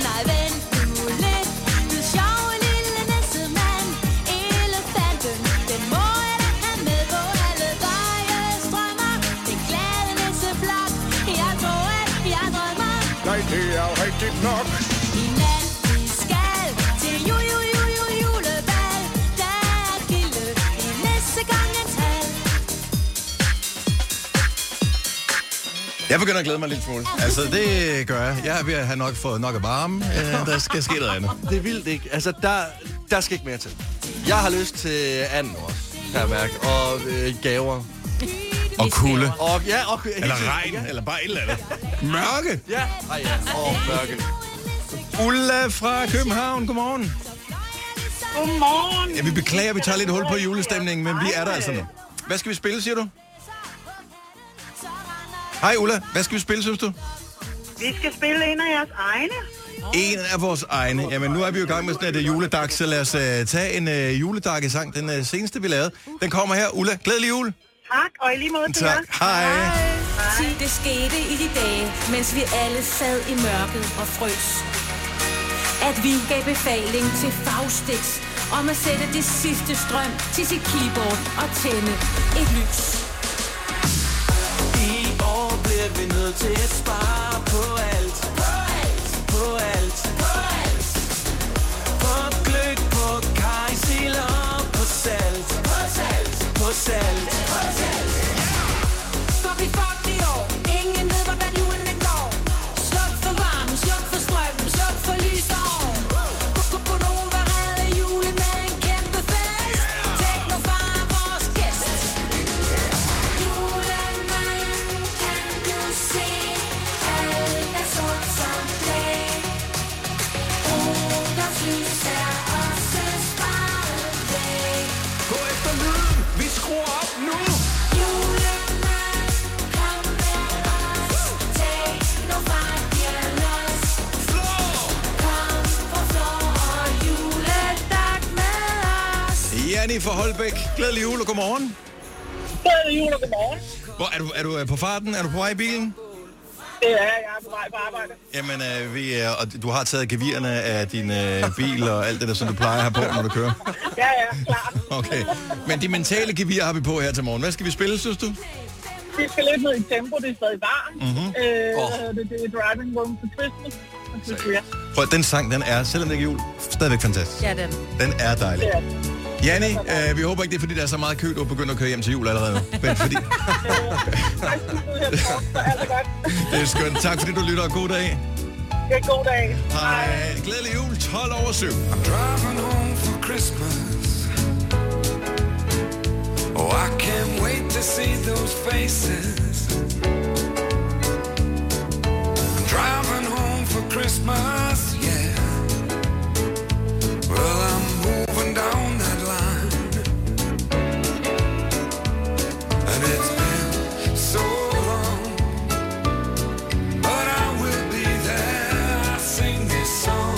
S19: Nej, vent nu lidt, du sjove lille nissemand. Elefanten, den må jeg da have med på alle veje strømmer. Den glade nisseflok, jeg tror, at jeg drømmer.
S20: Nej, det er rigtigt nok.
S19: I nat vi skal til jul, jul, jul, jul, julebal. Der er gilde i nissegangens hal.
S1: Jeg begynder at glæde mig en lille smule. Altså, det gør jeg. Jeg er ved at have nok fået nok af varme. Øh, der skal ske noget andet.
S3: Det er vildt, ikke? Altså, der, der skal ikke mere til. Jeg har lyst til anden også, kan jeg mærke. Og øh, gaver.
S1: Og kulde.
S3: Og, ja, og,
S1: Eller regn, eller bare et eller andet. Mørke.
S3: Ja, Ej, ja. Og mørke.
S1: Ulla fra København, godmorgen.
S10: Godmorgen.
S1: Ja, vi beklager, vi tager lidt hul på julestemningen, men vi er der altså nu. Hvad skal vi spille, siger du? Hej Ulla, hvad skal vi spille, synes du?
S10: Vi skal spille en af jeres egne.
S1: En af vores egne. Jamen, nu er vi jo i gang med sådan et øh, juledag, så lad os uh, tage en uh, juledag-sang, den uh, seneste, vi lavede. Den kommer her. Ulla, glædelig jul.
S10: Tak, og i lige måde til
S1: Tak.
S10: jer.
S1: Hej.
S10: Hej.
S7: 10. Det skete i de dage, mens vi alle sad i mørket og frøs. At vi gav befaling til Faustix om at sætte det sidste strøm til sit keyboard og tænde et lys.
S21: I år bliver vi nødt til at spare på alt. På alt. På alt. På alt. På gløk, på kajsil og på salt. På salt. På salt. På salt.
S19: For vi fucked i år. Ingen ved, hvordan julen går. Sluk for varmen, sluk for strømmen, sluk for lys og ovn. Gonova redder julen med en kæmpe fest. Teknofar er vores gæst. Julemanden kan du se. Alt er sort som blæ. Ruders lys er også sparet væk. Gå efter lyden, vi skruer op nu. Julen
S1: Janni fra Holbæk, glædelig jul og godmorgen.
S10: Glædelig er jul og godmorgen.
S1: Hvor, er, du, er du øh, på farten? Er du på vej i bilen?
S10: Det er jeg. Jeg er på vej på arbejde.
S1: Jamen, øh, vi er, og du har taget gevirerne af din øh, bil og alt det der, som du plejer at have på, når du kører.
S10: Ja, ja, klart.
S1: Okay. Men de mentale gevirer har vi på her til morgen. Hvad skal vi spille, synes du?
S10: Vi skal lidt ned i tempo. Det er stadig varmt.
S1: Mhm.
S10: Mm-hmm. Øh,
S1: Åh.
S10: oh. det, det er Driving Home for Christmas. Det synes jeg.
S1: Prøv, at- den sang, den er, selvom det ikke er jul, stadigvæk fantastisk.
S10: Ja, den.
S1: Den er dejlig.
S10: Ja.
S1: Janni, øh, vi håber ikke, det er, fordi der er så meget kø, du begynder at køre hjem til jul allerede nu. Men fordi... det er skønt. Tak fordi du lytter, og god dag.
S10: Ja, god dag.
S1: Hej. Glædelig jul, 12 over 7.
S20: I'm driving home for Christmas. Oh, I can't wait to see those faces. I'm driving home for Christmas, yeah. Well, I'm moving down that line. And it's been so long. But I will be there. I sing this song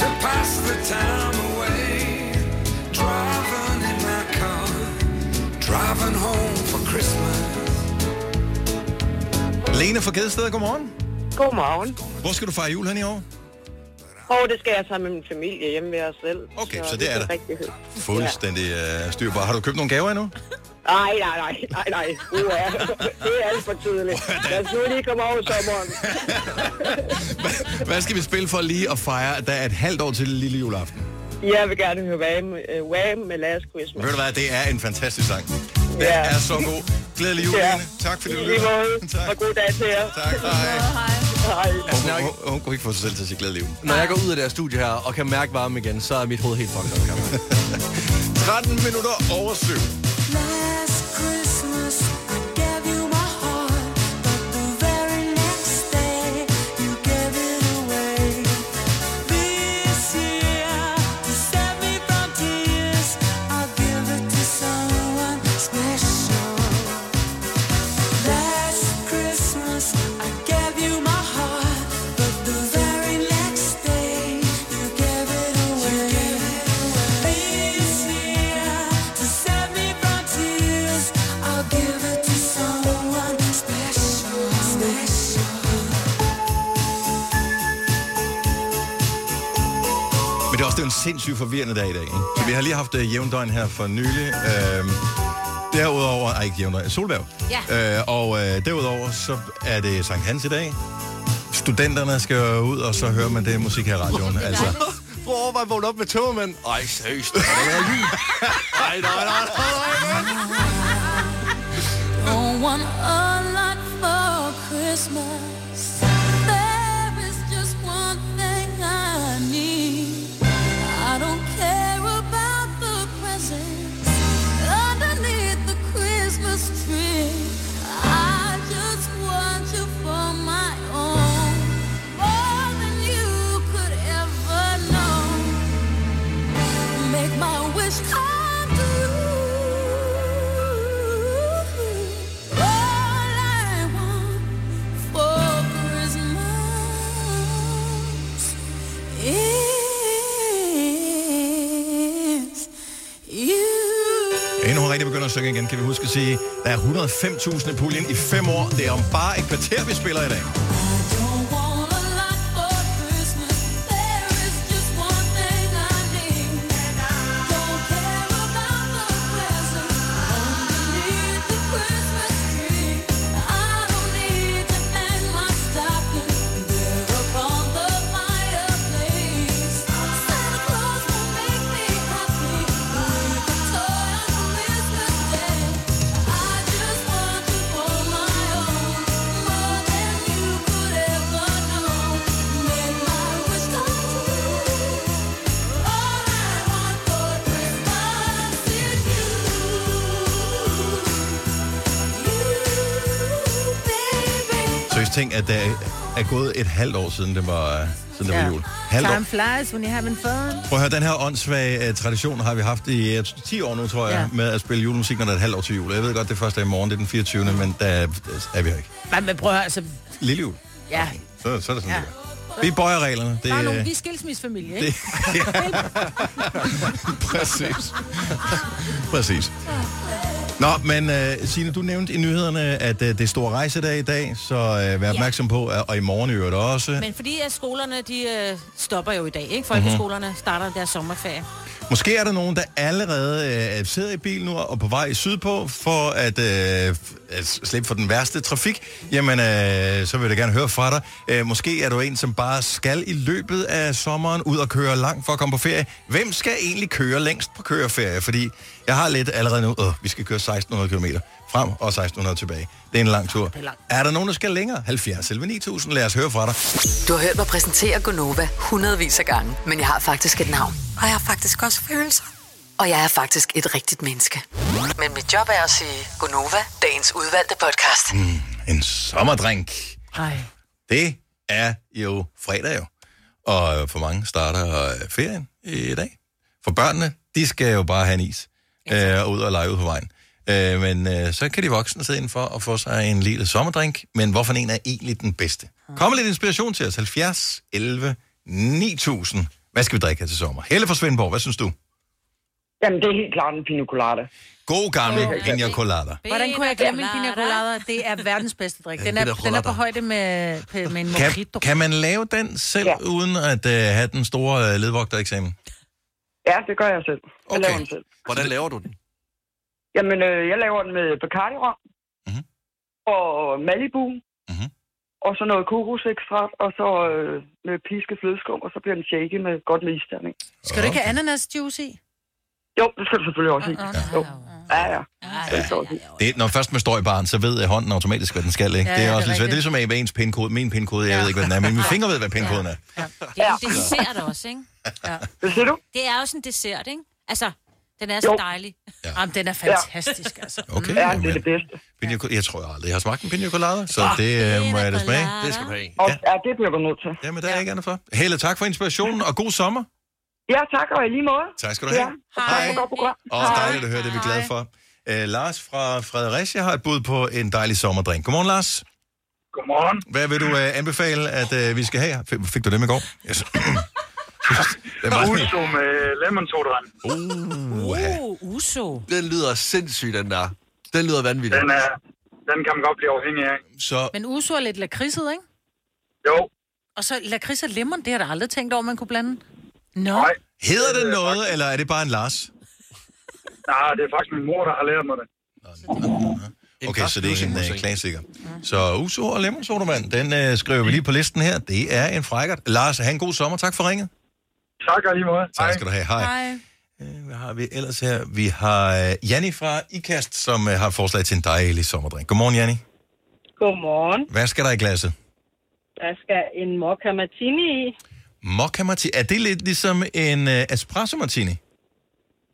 S20: to pass the time away. Driving in my car, driving home for Christmas.
S1: Lene fra Gedested, godmorgen.
S22: Godmorgen.
S1: Hvor skal du fejre jul hen i år?
S22: Og det skal jeg sammen med min familie hjemme ved os selv.
S1: Okay, så det er der.
S22: Rigtig hyggeligt.
S1: Fuldstændig øh, styr på. Har du købt nogle gaver endnu?
S22: Ja. Ej, nej, nej, nej, nej. Uha, det er alt for tidligt. Lad os nu lige komme over sommeren.
S1: Hvad skal vi spille for lige at fejre, at der er et halvt år til lille juleaften?
S22: Jeg vil gerne høre Wham, uh, Wham med Last Christmas.
S1: Ved du hvad, det er en fantastisk sang. Den
S22: Ja.
S1: er så god. Glædelig jul,
S22: Ja.
S1: Lene. Tak fordi du
S22: I lige
S1: lytter.
S22: måde. Og god dag til jer.
S1: Tak, hej.
S22: Hej.
S1: Hun, hun, hun kunne ikke få sig selv til at sige glædelig jul.
S3: Når jeg går ud af det her studie her og kan mærke varmen igen, så er mit hoved helt fucked up, kammerat.
S1: 13 minutter over 7.
S19: Last Christmas I gave you my heart, but the very next day you gave it away. This year to save me from tears, I'll give it to someone special. Last Christmas I gave you my heart, but the very next day you gave it away. This year to save me from tears, I'll give it to someone special, special.
S1: Men det er også det er en sindssygt forvirrende dag i dag. Ikke? Så vi har lige haft øh, jævndøgn her for nylig. Øhm, derudover, ej ikke jævndøgn, solværv.
S19: Ja.
S1: Øh, og øh, derudover, så er det Sankt Hans i dag. Studenterne skal ud, og så hører man det musik her i radioen. Altså,
S3: Prøv at overveje, at vågne op med tømmermænd. Ej, seriøst. er det været jul? Ej, nej, nej, nej, nej.
S19: Don't want a lot for Christmas. There is just one thing I need. I don't care about the presents underneath the Christmas tree. I just want you for my own, more than you could ever know. Make my wish come true. All I
S1: begynde at synge igen, kan vi huske at sige, der er 105.000 i puljen i fem år. Det er om bare et kvarter, vi spiller i dag. Så jeg tænkte, at der er gået et halvt år siden, det var, øh, siden det var jul. Halvt år.
S4: Time flies when you're having fun.
S1: Prøv at høre, den her åndssvage uh, tradition har vi haft i uh, 10 år nu, tror jeg, ja. med at spille julemusik, når der er et halvt år til jul. Jeg ved godt, det første er i morgen, det er den 24. Men der er, der er vi her ikke.
S2: Nej, men prøv at høre, altså...
S1: Lille jul.
S2: Ja.
S1: Så, så er det sådan,
S2: Ja.
S1: ja. Vi bøjer reglerne. Det,
S2: Der er nogen,
S1: øh,
S2: vi er skilsmissefamilie, ikke?
S1: Præcis. Præcis. Nå, men uh, Signe, du nævnte i nyhederne, at uh, det er store rejsedag i dag, så uh, vær opmærksom på, uh, og i morgen i øvrigt også. Men...
S7: Men fordi at skolerne, de øh, stopper jo i dag, ikke? Folkeskolerne
S1: Mhm.
S7: starter deres sommerferie.
S1: Måske er der nogen, der allerede uh, sidder i bil nu og er på vej sydpå for at, uh, at slippe for den værste trafik. Jamen, uh, så vil jeg da gerne høre fra dig. Uh, måske er du en, som bare skal i løbet af sommeren ud og køre langt for at komme på ferie. Hvem skal egentlig køre længst på køreferie? Fordi jeg har lidt allerede nu, øh, vi skal køre 1600 km frem og 1600 tilbage. Det er en lang tur. Er der nogen, der skal længere? 70 11 9000. Lad os høre fra dig.
S6: Du har hørt mig præsentere Gonova hundredvis af gange, men jeg har faktisk et navn. Og jeg har faktisk også følelser. Og jeg er faktisk et rigtigt menneske. Men mit job er at sige Gonova, dagens udvalgte podcast.
S1: Mm, en sommerdrink.
S2: Ej.
S1: Det er jo fredag jo. Og for mange starter øh, ferien i dag. For børnene, de skal jo bare have en is øh, og ud og lege ud på vejen. Øh, men øh, så kan de voksne sidde indenfor og få sig en lille sommerdrink. Men hvorfor en er egentlig den bedste?
S22: Ah.
S1: Kom med lidt inspiration til os. 70, 11, 9000. Hvad skal vi drikke her til sommer? Helle fra Svendborg, hvad synes du?
S22: Jamen, det er helt klart en pina colada.
S1: God gamle
S22: Åh, ja.
S1: pina colada.
S2: Hvordan kunne jeg glemme en pina colada? Det er verdens bedste drik. Den
S1: Ja,
S2: er,
S1: pina
S2: den er på
S1: colada.
S2: højde med, med en
S1: Kan,
S2: mojito.
S1: kan man lave den selv, ja. uden at øh, have den store øh, ledvogtereksamen?
S22: Ja, det gør jeg selv. Jeg okay. laver den selv.
S3: Hvordan laver du den?
S22: Jamen, øh, jeg laver den med bacardi rom mm-hmm. og Malibu. Mm-hmm. Og så noget kokosekstrakt, og så øh, med pisket flødeskum, og så bliver den shaken med godt med isterning.
S4: Skal du ikke have ananasjuice i?
S22: Jo, det skal du selvfølgelig også i. Jo. Ja, ja. Det skal du også i.
S1: Det, når først man står i baren, så ved hånden automatisk, hvad den skal. Ikke? Ja, det er også det er, det er ligesom af med ens pindkode. Min pindkode, jeg ved ikke, hvad den er, men min finger ved, hvad pindkoden er.
S7: Det er jo en dessert også, ikke? Ja.
S22: Hvad siger du?
S7: Det er også en dessert, ikke? Altså, den er så
S22: Jo.
S7: dejlig.
S1: Ja.
S2: Jamen, den er fantastisk, altså.
S22: ja,
S1: Okay,
S22: det
S1: jamen.
S22: er det bedste.
S1: Pina, co- jeg tror jeg aldrig, jeg har smagt en pina colada, så det øh, må jeg da smage. Det skal du have.
S22: Og, ja, det bliver du nødt til.
S1: Jamen, der er ikke andet for. Helle, tak for inspirationen, og god sommer.
S22: Ja, tak, og i lige måde.
S1: Tak skal du have.
S22: Ja. Hej. Godt program.
S1: Og dejligt at høre, det er vi glade for. Øh, Lars fra Fredericia har et bud på en dejlig sommerdrink. Godmorgen, Lars.
S9: Godmorgen.
S1: Hvad vil du øh, anbefale, at øh, vi skal have? Fik, fik du dem i går? Yes. det var sådan,
S9: Uso med lemon sodavand.
S1: Uh,
S7: Uh, uso.
S3: Den lyder sindssygt, den der. Den lyder vanvittig.
S9: Den, er, den kan man godt blive afhængig af.
S1: Så
S2: Men uso er lidt lakridset, ikke?
S9: Jo.
S2: Og så lakrids og lemon, det har jeg da aldrig tænkt over, man kunne blande. Nå.
S1: hedder det noget, eller er det bare en Lars?
S9: Nej, Ah, det er faktisk min mor, der har lært mig det.
S1: Okay, så det er ikke en uh, klassiker. Så Uso og Lemon Sodavand, den uh, skriver vi lige på listen her. Det er en frækkert. Lars, have en god sommer. Tak for ringet.
S9: Tak og lige måde.
S1: Tak skal du have. Hej. Øh, Hvad har vi ellers her? Vi har uh, Janni fra IKAST, som uh, har forslag til en dejlig sommerdrink. Godmorgen, Janni.
S5: Godmorgen.
S1: Hvad skal der i glasset?
S5: Der skal en mokka martini i.
S1: Mokka martini. Er det lidt ligesom en uh, espresso martini?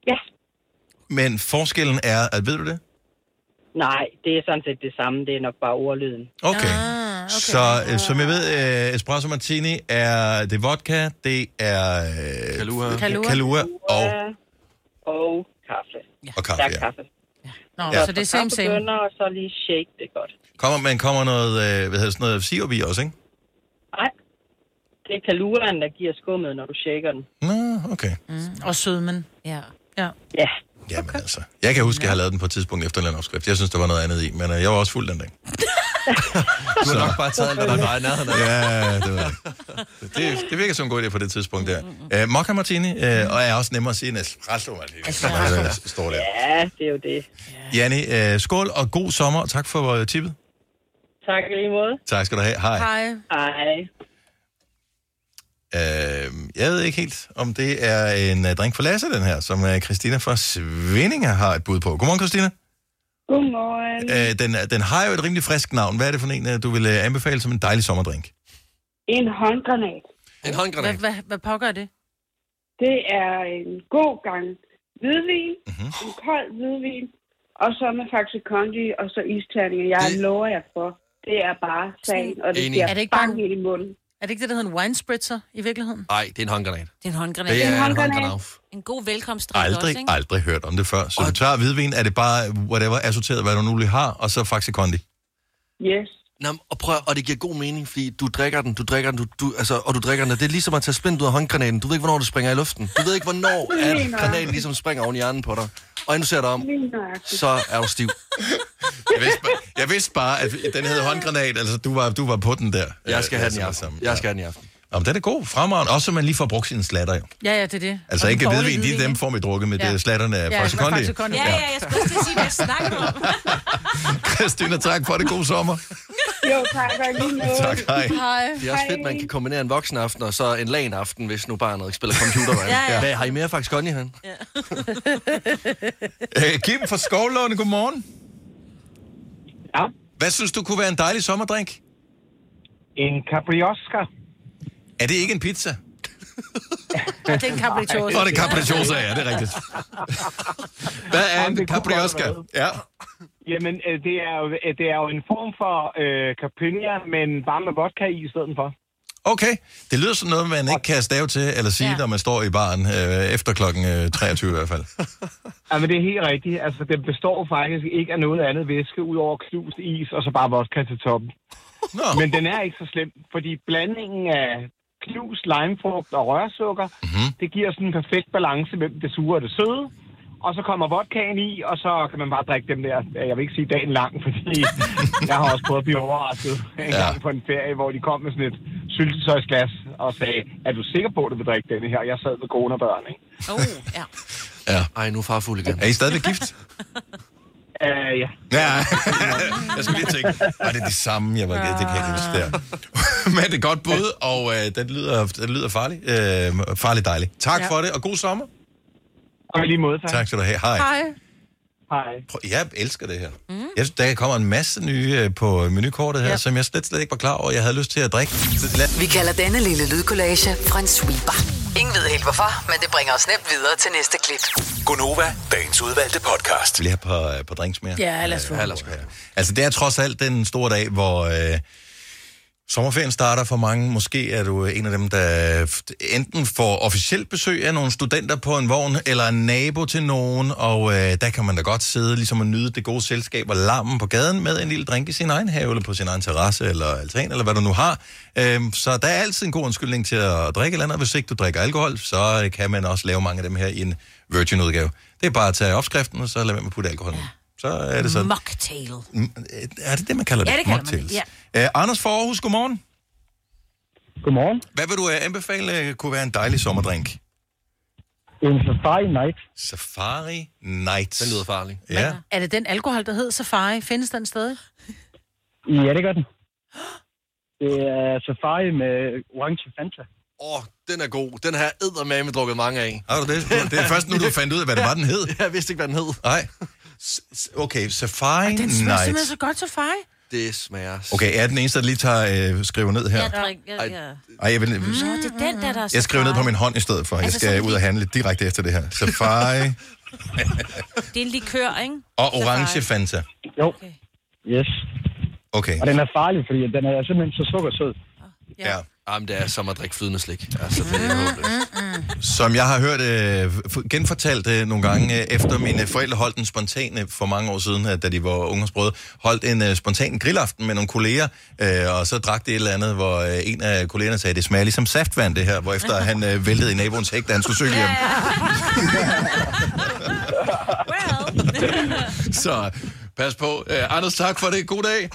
S5: Ja.
S1: Men forskellen er, at ved du det?
S5: Nej, det er sådan set det samme. Det er nok bare ordlyden.
S1: Okay. Ah, okay. Så øh, som jeg ved, øh, espresso martini er det er vodka, det er øh, Kalua.
S5: Kalua.
S1: Kalua og,
S5: Og kaffe. Ja.
S1: og kaffe.
S5: Der er
S1: Ja.
S5: kaffe.
S2: Nå,
S1: Ja.
S5: så det er same, same. Bønner, og så lige shake det godt.
S1: Kommer, man kommer noget, øh, hvad hedder sådan noget sirup i også, ikke?
S5: Nej, det er kaluren, der giver skummet, når du shaker den.
S1: Nå, okay.
S2: Mm. Og sødmen. Ja. ja.
S5: Ja,
S1: Jamen altså. Jeg kan huske, at jeg har lavet den på et tidspunkt efter en eller anden opskrift. Jeg synes, der var noget andet i, men øh, jeg var også fuld den dag.
S3: Du har nok bare taget alt, hvad der var i nærheden af.
S1: Ja, det ved jeg. ikke. Det, det virker som en god idé på det tidspunkt der. Øh, Mokka Martini, øh, og jeg er også nemmere at sige end Espresso Martini. når det Står der.
S5: Ja, det er jo det.
S1: Janni, øh, skål og god sommer, og tak for øh, tippet.
S5: Tak i lige måde.
S1: Tak skal du have. Hej.
S5: Hej.
S1: Øh, jeg ved ikke helt, om det er en øh, drink for Lasse, den her, som øh, Christina fra Svinninge har et bud på. Godmorgen, Christina.
S10: Godmorgen.
S1: Øh, den, er- den har jo et rimelig frisk navn. Hvad er det for en, øh, du vil øh, anbefale som en dejlig sommerdrink?
S10: En håndgranat.
S3: En
S2: Hvad, hvad, hvad pågør det?
S10: Det er en god gang hvidvin,
S3: Mhm.
S10: mm-hmm. en kold hvidvin, og så med Faxe Kondi, og så isterninger. Jeg lover jer for, det er bare sagen, og det
S3: Enig.
S10: bliver
S3: Er det
S2: ikke
S10: bang ind i munden.
S2: Er det ikke det, der hedder en wine spritzer i virkeligheden?
S3: Nej, det er en håndgranat.
S2: Det er en håndgranat.
S3: Det er en håndgranat.
S7: En god velkomstdrik også,
S1: Aldrig,
S7: ikke?
S1: aldrig hørt om det før. Så du tager hvidvin, er det bare whatever assorteret, hvad du nu lige har, og så Faxe Kondi.
S10: Yes.
S3: Nå, men- og prøv, og det giver god mening, fordi du drikker den, du drikker den, du, du, altså, og du drikker den, og det er ligesom at tage splint ud af håndgranaten. Du ved ikke, hvornår det springer i luften. Du ved ikke, hvornår
S10: Lige
S3: at
S10: nøjagtigt.
S3: granaten ligesom springer oven i hjernen på dig. Og inden du ser dig om,
S10: Lige nøjagtigt.
S3: så er du stiv.
S1: Jeg vidste, bare, jeg vidste bare, at den hed håndgranat, altså du var, du var på den der.
S3: Jeg skal
S1: Øh,
S3: have den i
S1: som er
S3: aften.
S1: sammen.
S3: Jeg skal have den i aften.
S1: Nå, men den er god, fremragende. Også så man lige får brugt sine slatter jo.
S2: Ja, ja, det er det.
S1: Altså
S2: Og
S1: ikke
S2: den dårlige
S1: hvidvin, de er dem får vi drukket med
S2: Ja.
S1: ja. slatterne af
S2: Ja,
S1: Faxe
S2: med
S1: Kondi.
S2: Faxe Kondi.
S7: Ja, ja, jeg skulle også til at sige, hvad jeg snakker om.
S1: Christina, tak for det. God sommer.
S10: Jo, tak. Og i lige måde.
S1: Tak, hej.
S3: Det er også fedt, man kan kombinere en voksenaften og så en lan aften, hvis nu barnet ikke spiller computer.
S10: Ja, ja.
S3: Hvad har I mere faktisk godt i han?
S1: Øh, Kim fra Skovlåne, godmorgen. Ja. Hvad synes du kunne være en dejlig sommerdrink? En capriosca. Er det ikke en pizza?
S2: Ja, det er en capricciosa.
S1: Nå, det er capricciosa, ja, det er rigtigt. Hvad er en capriosca? Ja.
S12: Jamen, øh, det er, jo, øh, det er jo en form for øh, caipirinha, men bare med vodka i i stedet for.
S1: Okay, det lyder som noget, man ikke kan stave til eller sige, ja. når man står i baren øh, efter klokken øh, 23 i hvert fald.
S12: Jamen, det er helt rigtigt. Altså, det består faktisk ikke af noget andet væske, udover knust is og så bare vodka til toppen.
S1: Nå.
S12: Men den er ikke så slem, fordi blandingen af knust limefrugt og rørsukker, mm-hmm. det giver sådan en perfekt balance mellem det sure og det søde. Og så kommer vodkaen i, og så kan man bare drikke dem der, øh, jeg vil ikke sige dagen lang, fordi jeg har også prøvet at blive overrasket en
S1: Ja.
S12: ja. gang på en ferie, hvor de kom med sådan et syltetøjsglas og sagde, er du sikker på, at du vil drikke denne her? Jeg sad med kone og børn, ikke?
S4: Oh,
S1: Ja.
S3: Ej, nu er far fuld igen.
S1: Er I stadigvæk gift?
S12: Uh, ja.
S1: Ja, jeg skulle lige tænke, var det det samme, jeg var gæt, det kan jeg ikke huske der. Men det er godt bud, og øh, det lyder, det lyder farligt, øh, farligt dejligt. Tak
S12: Ja.
S1: for det, og god sommer.
S12: Og lige måde, tak.
S1: Tak skal du have. Hej. Hej.
S12: Hej.
S1: Prøv, jeg elsker det her. Mm. Jeg synes, der kommer en masse nye øh, på menukortet her, ja. som jeg slet, slet ikke var klar over, jeg havde lyst til at drikke. Så lad-
S6: Vi kalder denne lille lydkollage Frans sweeper. Ingen ved helt hvorfor, men det bringer os nemt videre til næste klip.
S8: Gunova, dagens udvalgte podcast.
S1: Vil I have et par, øh, par drinks mere?
S6: Ja, lad os få.
S1: Ja, lad os få, ja. Altså, det er trods alt den store dag, hvor øh, sommerferien starter for mange. Måske er du øh, en af dem, der f- enten får officielt besøg af nogle studenter på en vogn, eller en nabo til nogen, og øh, der kan man da godt sidde ligesom og nyde det gode selskab og larmen på gaden med en lille drink i sin egen have, eller på sin egen terrasse, eller altan, eller hvad du nu har. Øh, så der er altid en god undskyldning til at drikke et eller andet, og hvis ikke du drikker alkohol, så øh, kan man også lave mange af dem her i en virgin-udgave. Det er bare at tage opskriften, og så lade være med at putte alkoholen. Ja. Så er det sådan.
S7: Mocktail.
S1: Mm, Er det det, man kalder det?
S7: Ja, det kalder man
S1: Mocktails.
S7: det,
S1: Øh, Anders for Aarhus, godmorgen.
S13: Godmorgen.
S1: Hvad vil du øh, anbefale øh, kunne være en dejlig sommerdrink?
S13: En safari night.
S1: Safari Night. Den
S3: lyder farlig.
S1: Ja.
S2: Er det den alkohol, der hedder Safari? Findes den stadig?
S13: Ja, det gør den. Det er safari med orange Fanta.
S3: Åh, oh, den er god. Den har jeg eddermame drukket mange af.
S1: Har du det? Det er først nu, du fandt ud af, hvad det var, den hed.
S3: Jeg vidste ikke, hvad den hed.
S1: Nej. S- s- Okay, Safari
S2: Den smager
S1: Night.
S2: simpelthen så godt, Safari.
S3: Det smager... s-
S1: Okay, er jeg den eneste, der lige tager øh, skriver ned her?
S7: Jeg drikker... Ja, ja.
S1: Ej, jeg, vil,
S7: Nå, det er den der, der er
S1: jeg skriver ned på min hånd i stedet for. Jeg
S7: Altså,
S1: skal
S7: sådan
S1: ud og handle direkte efter det her. Safari
S7: Det er en likør, ikke?
S1: og orange Fanta.
S13: Jo. Yes.
S1: Okay.
S13: Og den er farlig, fordi den er simpelthen så sukkersød.
S1: Ja.
S3: Jamen, det er som at drikke flydende slik. Altså, det
S2: Mm-hmm.
S3: er håbløst.
S1: Som jeg har hørt øh, f- genfortalt øh, nogle gange, øh, efter mine forældre holdt en spontan, øh, for mange år siden, øh, da de var unge og sprøde, holdt en øh, spontan grillaften med nogle kolleger, øh, og så drak det et eller andet, hvor øh, en af kollegerne sagde, det smager ligesom saftvand det her, hvorefter han øh, væltede i naboens hæk, da han skulle søge hjem. Så pas på. Uh, Anders, tak for det. God dag.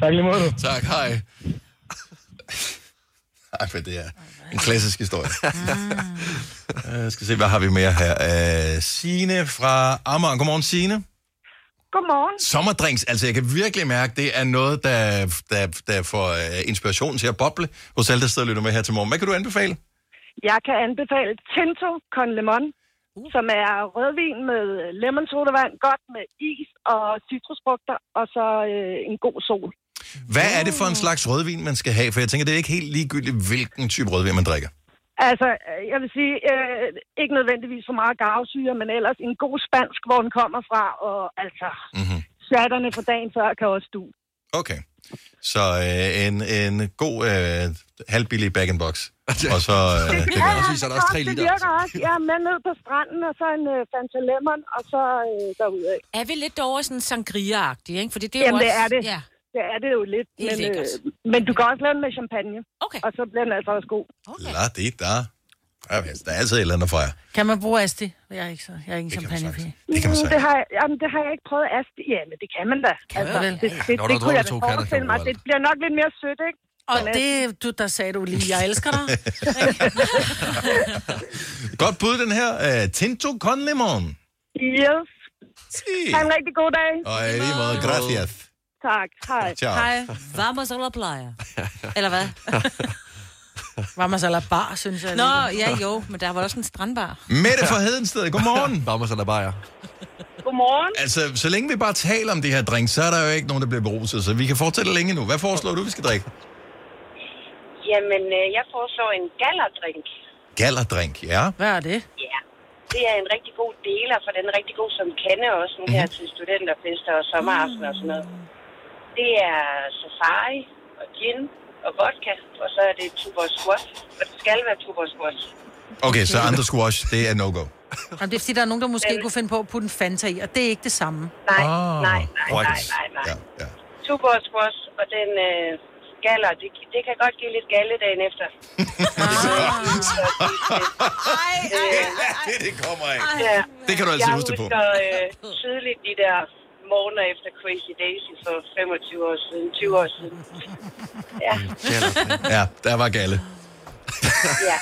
S13: Tak lige måde.
S1: Tak, hej. Ej, for det er en klassisk historie. Jeg skal se, hvad har vi mere her? Uh, Sine fra Amager. Godmorgen, Sine.
S11: Godmorgen.
S1: Sommerdrinks, altså jeg kan virkelig mærke, det er noget, der, der, der får øh, inspiration til at boble hos alle, der sidder og lytter med her til morgen. Hvad kan du anbefale?
S11: Jeg kan anbefale Tinto Con Lemon, uh. som er rødvin med lemon sodavand, godt med is og citrusfrugter, og så øh, en god sol.
S1: Hvad er det for en slags rødvin, man skal have? For jeg tænker, det er ikke helt ligegyldigt, hvilken type rødvin man drikker.
S11: Altså, øh, jeg vil sige, øh, ikke nødvendigvis for meget garvesyre, men ellers en god spansk, hvor den kommer fra, og altså,
S1: Mhm.
S11: mm-hmm. chatterne fra dagen før kan også du.
S1: Okay. Så øh, en, en god øh, halvbillig bag-in-box. Og så... Øh, det kan være.
S11: så det virker også. Ja, med ned på stranden, og så en øh, Fanta Lemon, og så øh, derude.
S7: Er vi lidt over sådan sangria-agtig, ikke? Fordi det er
S11: Jamen,
S7: jo
S11: det
S7: også...
S11: er det.
S7: Ja.
S11: Det er det jo lidt.
S7: Det er
S11: Men, øh,
S7: lækkert.
S11: men du kan også lave den med champagne.
S7: Okay.
S11: Og så bliver den altså også god.
S1: La det da. Ja, altså, Der er altid et eller andet at fejre.
S2: Kan man bruge Asti? Jeg er ikke, så, jeg er ikke en champagnepige.
S1: Det kan man
S11: Mm,
S1: sige.
S11: det, har jeg, jamen, det har jeg ikke prøvet asti. Ja, men det kan man da. Kan altså, det, det, det,
S1: Når du
S11: det
S1: har
S11: kunne jeg
S1: drukket
S11: da
S1: to kander, kan
S11: forestille
S1: du
S11: mig.
S1: godt.
S11: Det bliver nok lidt mere sødt, ikke?
S2: Og det, du, der sagde du lige, jeg elsker dig.
S1: Godt bud, den her. Uh, Tinto con limon.
S11: Yes.
S1: Ha'
S11: en rigtig god dag.
S1: Og i lige måde, gracias.
S11: Tak. Hej.
S1: Ciao.
S7: Hej. Vamos a la playa. Eller hvad?
S2: Vamos a la bar, synes jeg.
S7: Nå,
S2: alligevel.
S7: ja jo, men der var også en strandbar.
S1: Mette fra Hedensted, godmorgen.
S3: Vamos eller bajer.
S11: Godmorgen.
S1: Altså, så længe vi bare taler om de her drinks, så er der jo ikke nogen, der bliver beruset, så vi kan fortsætte længe nu. Hvad foreslår du, vi skal drikke?
S14: Jamen, øh, jeg foreslår en gallerdrink.
S1: Gallerdrink, ja.
S2: Hvad er det?
S14: Ja, det er en rigtig god deler, for den er rigtig god som kande også nu her til studenterfester og sommeraftener og sådan noget. Det er safari og gin og vodka, og så er det tuborg squash, og det skal være tuborg squash.
S1: Okay, så andre squash, det er no-go.
S2: Jamen, det er fordi, der er nogen, der måske kunne finde på at putte en Fanta i, og det er ikke det samme.
S14: Nej, Ah, nej, nej, nej, right. nej, nej.
S1: Ja, ja.
S14: Tuborg squash og den øh, galler, det, det kan godt give lidt galle dagen efter.
S1: Ej,
S14: ej,
S1: Det, det kommer af.
S14: Ja.
S1: Det kan du altid
S14: jeg
S1: huske det på.
S14: husker øh, tydeligt de der morgener efter Crazy Daisy for 25 år siden, 20 år siden. Ja,
S1: Ja, der var galle.
S14: ja.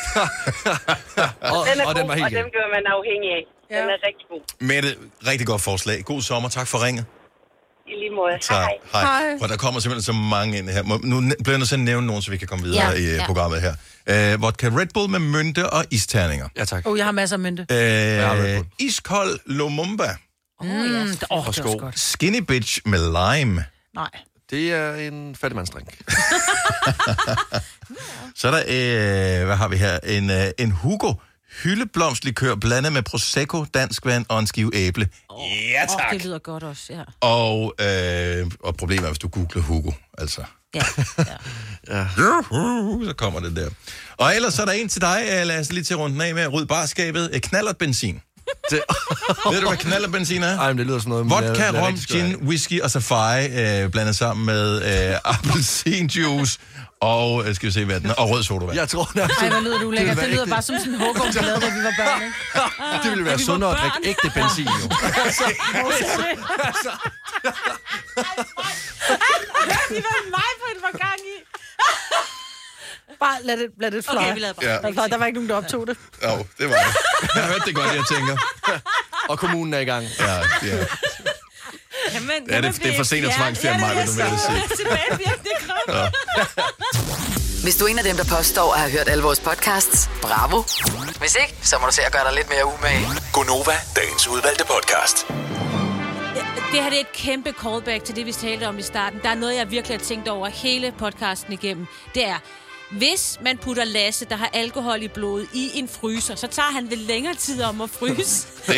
S1: og,
S14: Den er god, og dem bliver man afhængig af. Den er rigtig god.
S1: Mette, rigtig godt forslag. God sommer, tak for ringet.
S14: I lige måde.
S1: Tak. Hej. Hej. For der kommer simpelthen så mange ind her. Må- Nu n- bliver jeg nødt til at nævne nogen, så vi kan komme videre
S2: Ja,
S1: ja, i
S2: ja.
S1: ja. programmet her. Øh, vodka Red Bull med mynte og isterninger.
S3: Ja, tak.
S2: Åh, oh, jeg har masser af mynte.
S1: Øh, iskold Lumumba.
S2: Åh, mm, ja. oh, det er også godt.
S1: Skinny Bitch med lime.
S2: Nej.
S3: Det er en fattigmandsdrink.
S1: Så er der, øh, hvad har vi her? En, øh, en Hugo hyldeblomstlikør blandet med Prosecco, dansk vand og en skive æble. Ja,
S7: Åh,
S1: tak.
S7: det lyder godt også, ja.
S1: Og, øh, og problemet er, hvis du googler Hugo, altså.
S7: Ja,
S1: ja. Juhu, så kommer det der. Og ellers så er der en til dig, øh, lad os lige til runden af med, ryd barskabet, øh, knallert benzin. Det... Ved du, hvad knallert benzin er?
S3: Ej, men det lyder sådan noget...
S1: Vodka,
S3: jeg- jeg er
S1: rom,
S3: rigtig skør
S1: gin, whisky og safari øh, blandet sammen med øh, appelsinjuice og, øh, skal vi se, hvad den er, og rød sodavand.
S3: Jeg tror nærmest...
S2: Ej, hvor lyder det ulækkert. Det lyder
S3: rigtigt.
S2: bare som sådan en hukum, vi lavede, da vi var børn, ikke?
S3: Det ville være
S2: Da vi var
S3: sundere at
S2: børn.
S3: drikke ægte benzin, jo.
S2: Altså, altså. Det var mig på en var gang i. Bare lad det, lad det fly.
S1: Okay, vi lader bare. Ja.
S2: Lad det fly. Der var ikke nogen, der optog det.
S1: Jo, det var det. Jeg hørte det godt, jeg tænker.
S3: Og kommunen er i gang.
S1: Ja, ja.
S7: Jamen,
S1: Ja, det- det er for sent at tvangsfjerne mig, vil du mere sige.
S7: Tilbagevirkende kraft.
S1: Ja.
S6: Hvis du er en af dem, der påstår at have hørt alle vores podcasts, bravo. Hvis ikke, så må du se at gøre dig lidt mere umage.
S8: Gonova, dagens udvalgte podcast.
S7: Det her det er et kæmpe callback til det, vi talte om i starten. Der er noget, jeg virkelig har tænkt over hele podcasten igennem. Det er, hvis man putter Lasse, der har alkohol i blodet, i en fryser, så tager han vel længere tid om at fryse.
S3: Nå,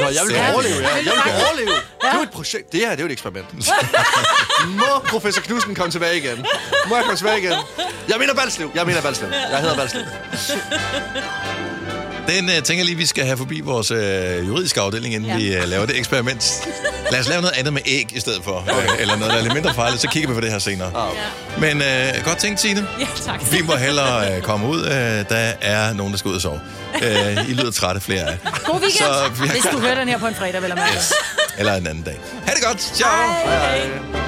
S3: jeg vil overleve, ja. Jeg vil overleve. Det er jo
S7: Ja.
S3: et projekt. Det her, det er jo et eksperiment. Må professor Knudsen komme tilbage igen? Må jeg komme tilbage igen? Jeg mener Balslev. Jeg mener Balslev. Jeg hedder Balslev.
S1: Den øh, tænker jeg lige, vi skal have forbi vores øh, juridiske afdeling, inden
S3: Ja.
S1: ja. vi øh, laver det eksperiment. Lad os lave noget andet med æg i stedet for, øh, eller noget, der er lidt mindre farligt, så kigger vi på det her senere. Men øh, godt tænkt, Signe.
S7: Ja, tak.
S1: Vi må hellere øh, komme ud. Øh, der er nogen, der skal ud og sove. Øh, I lyder trætte flere af jer.
S2: God weekend,
S1: Så
S2: så,
S1: vi har-
S2: hvis du hører den her på en fredag, vel og mærke.
S1: Eller en anden dag. Ha' det godt. Ciao.
S2: Hej.
S1: Hej.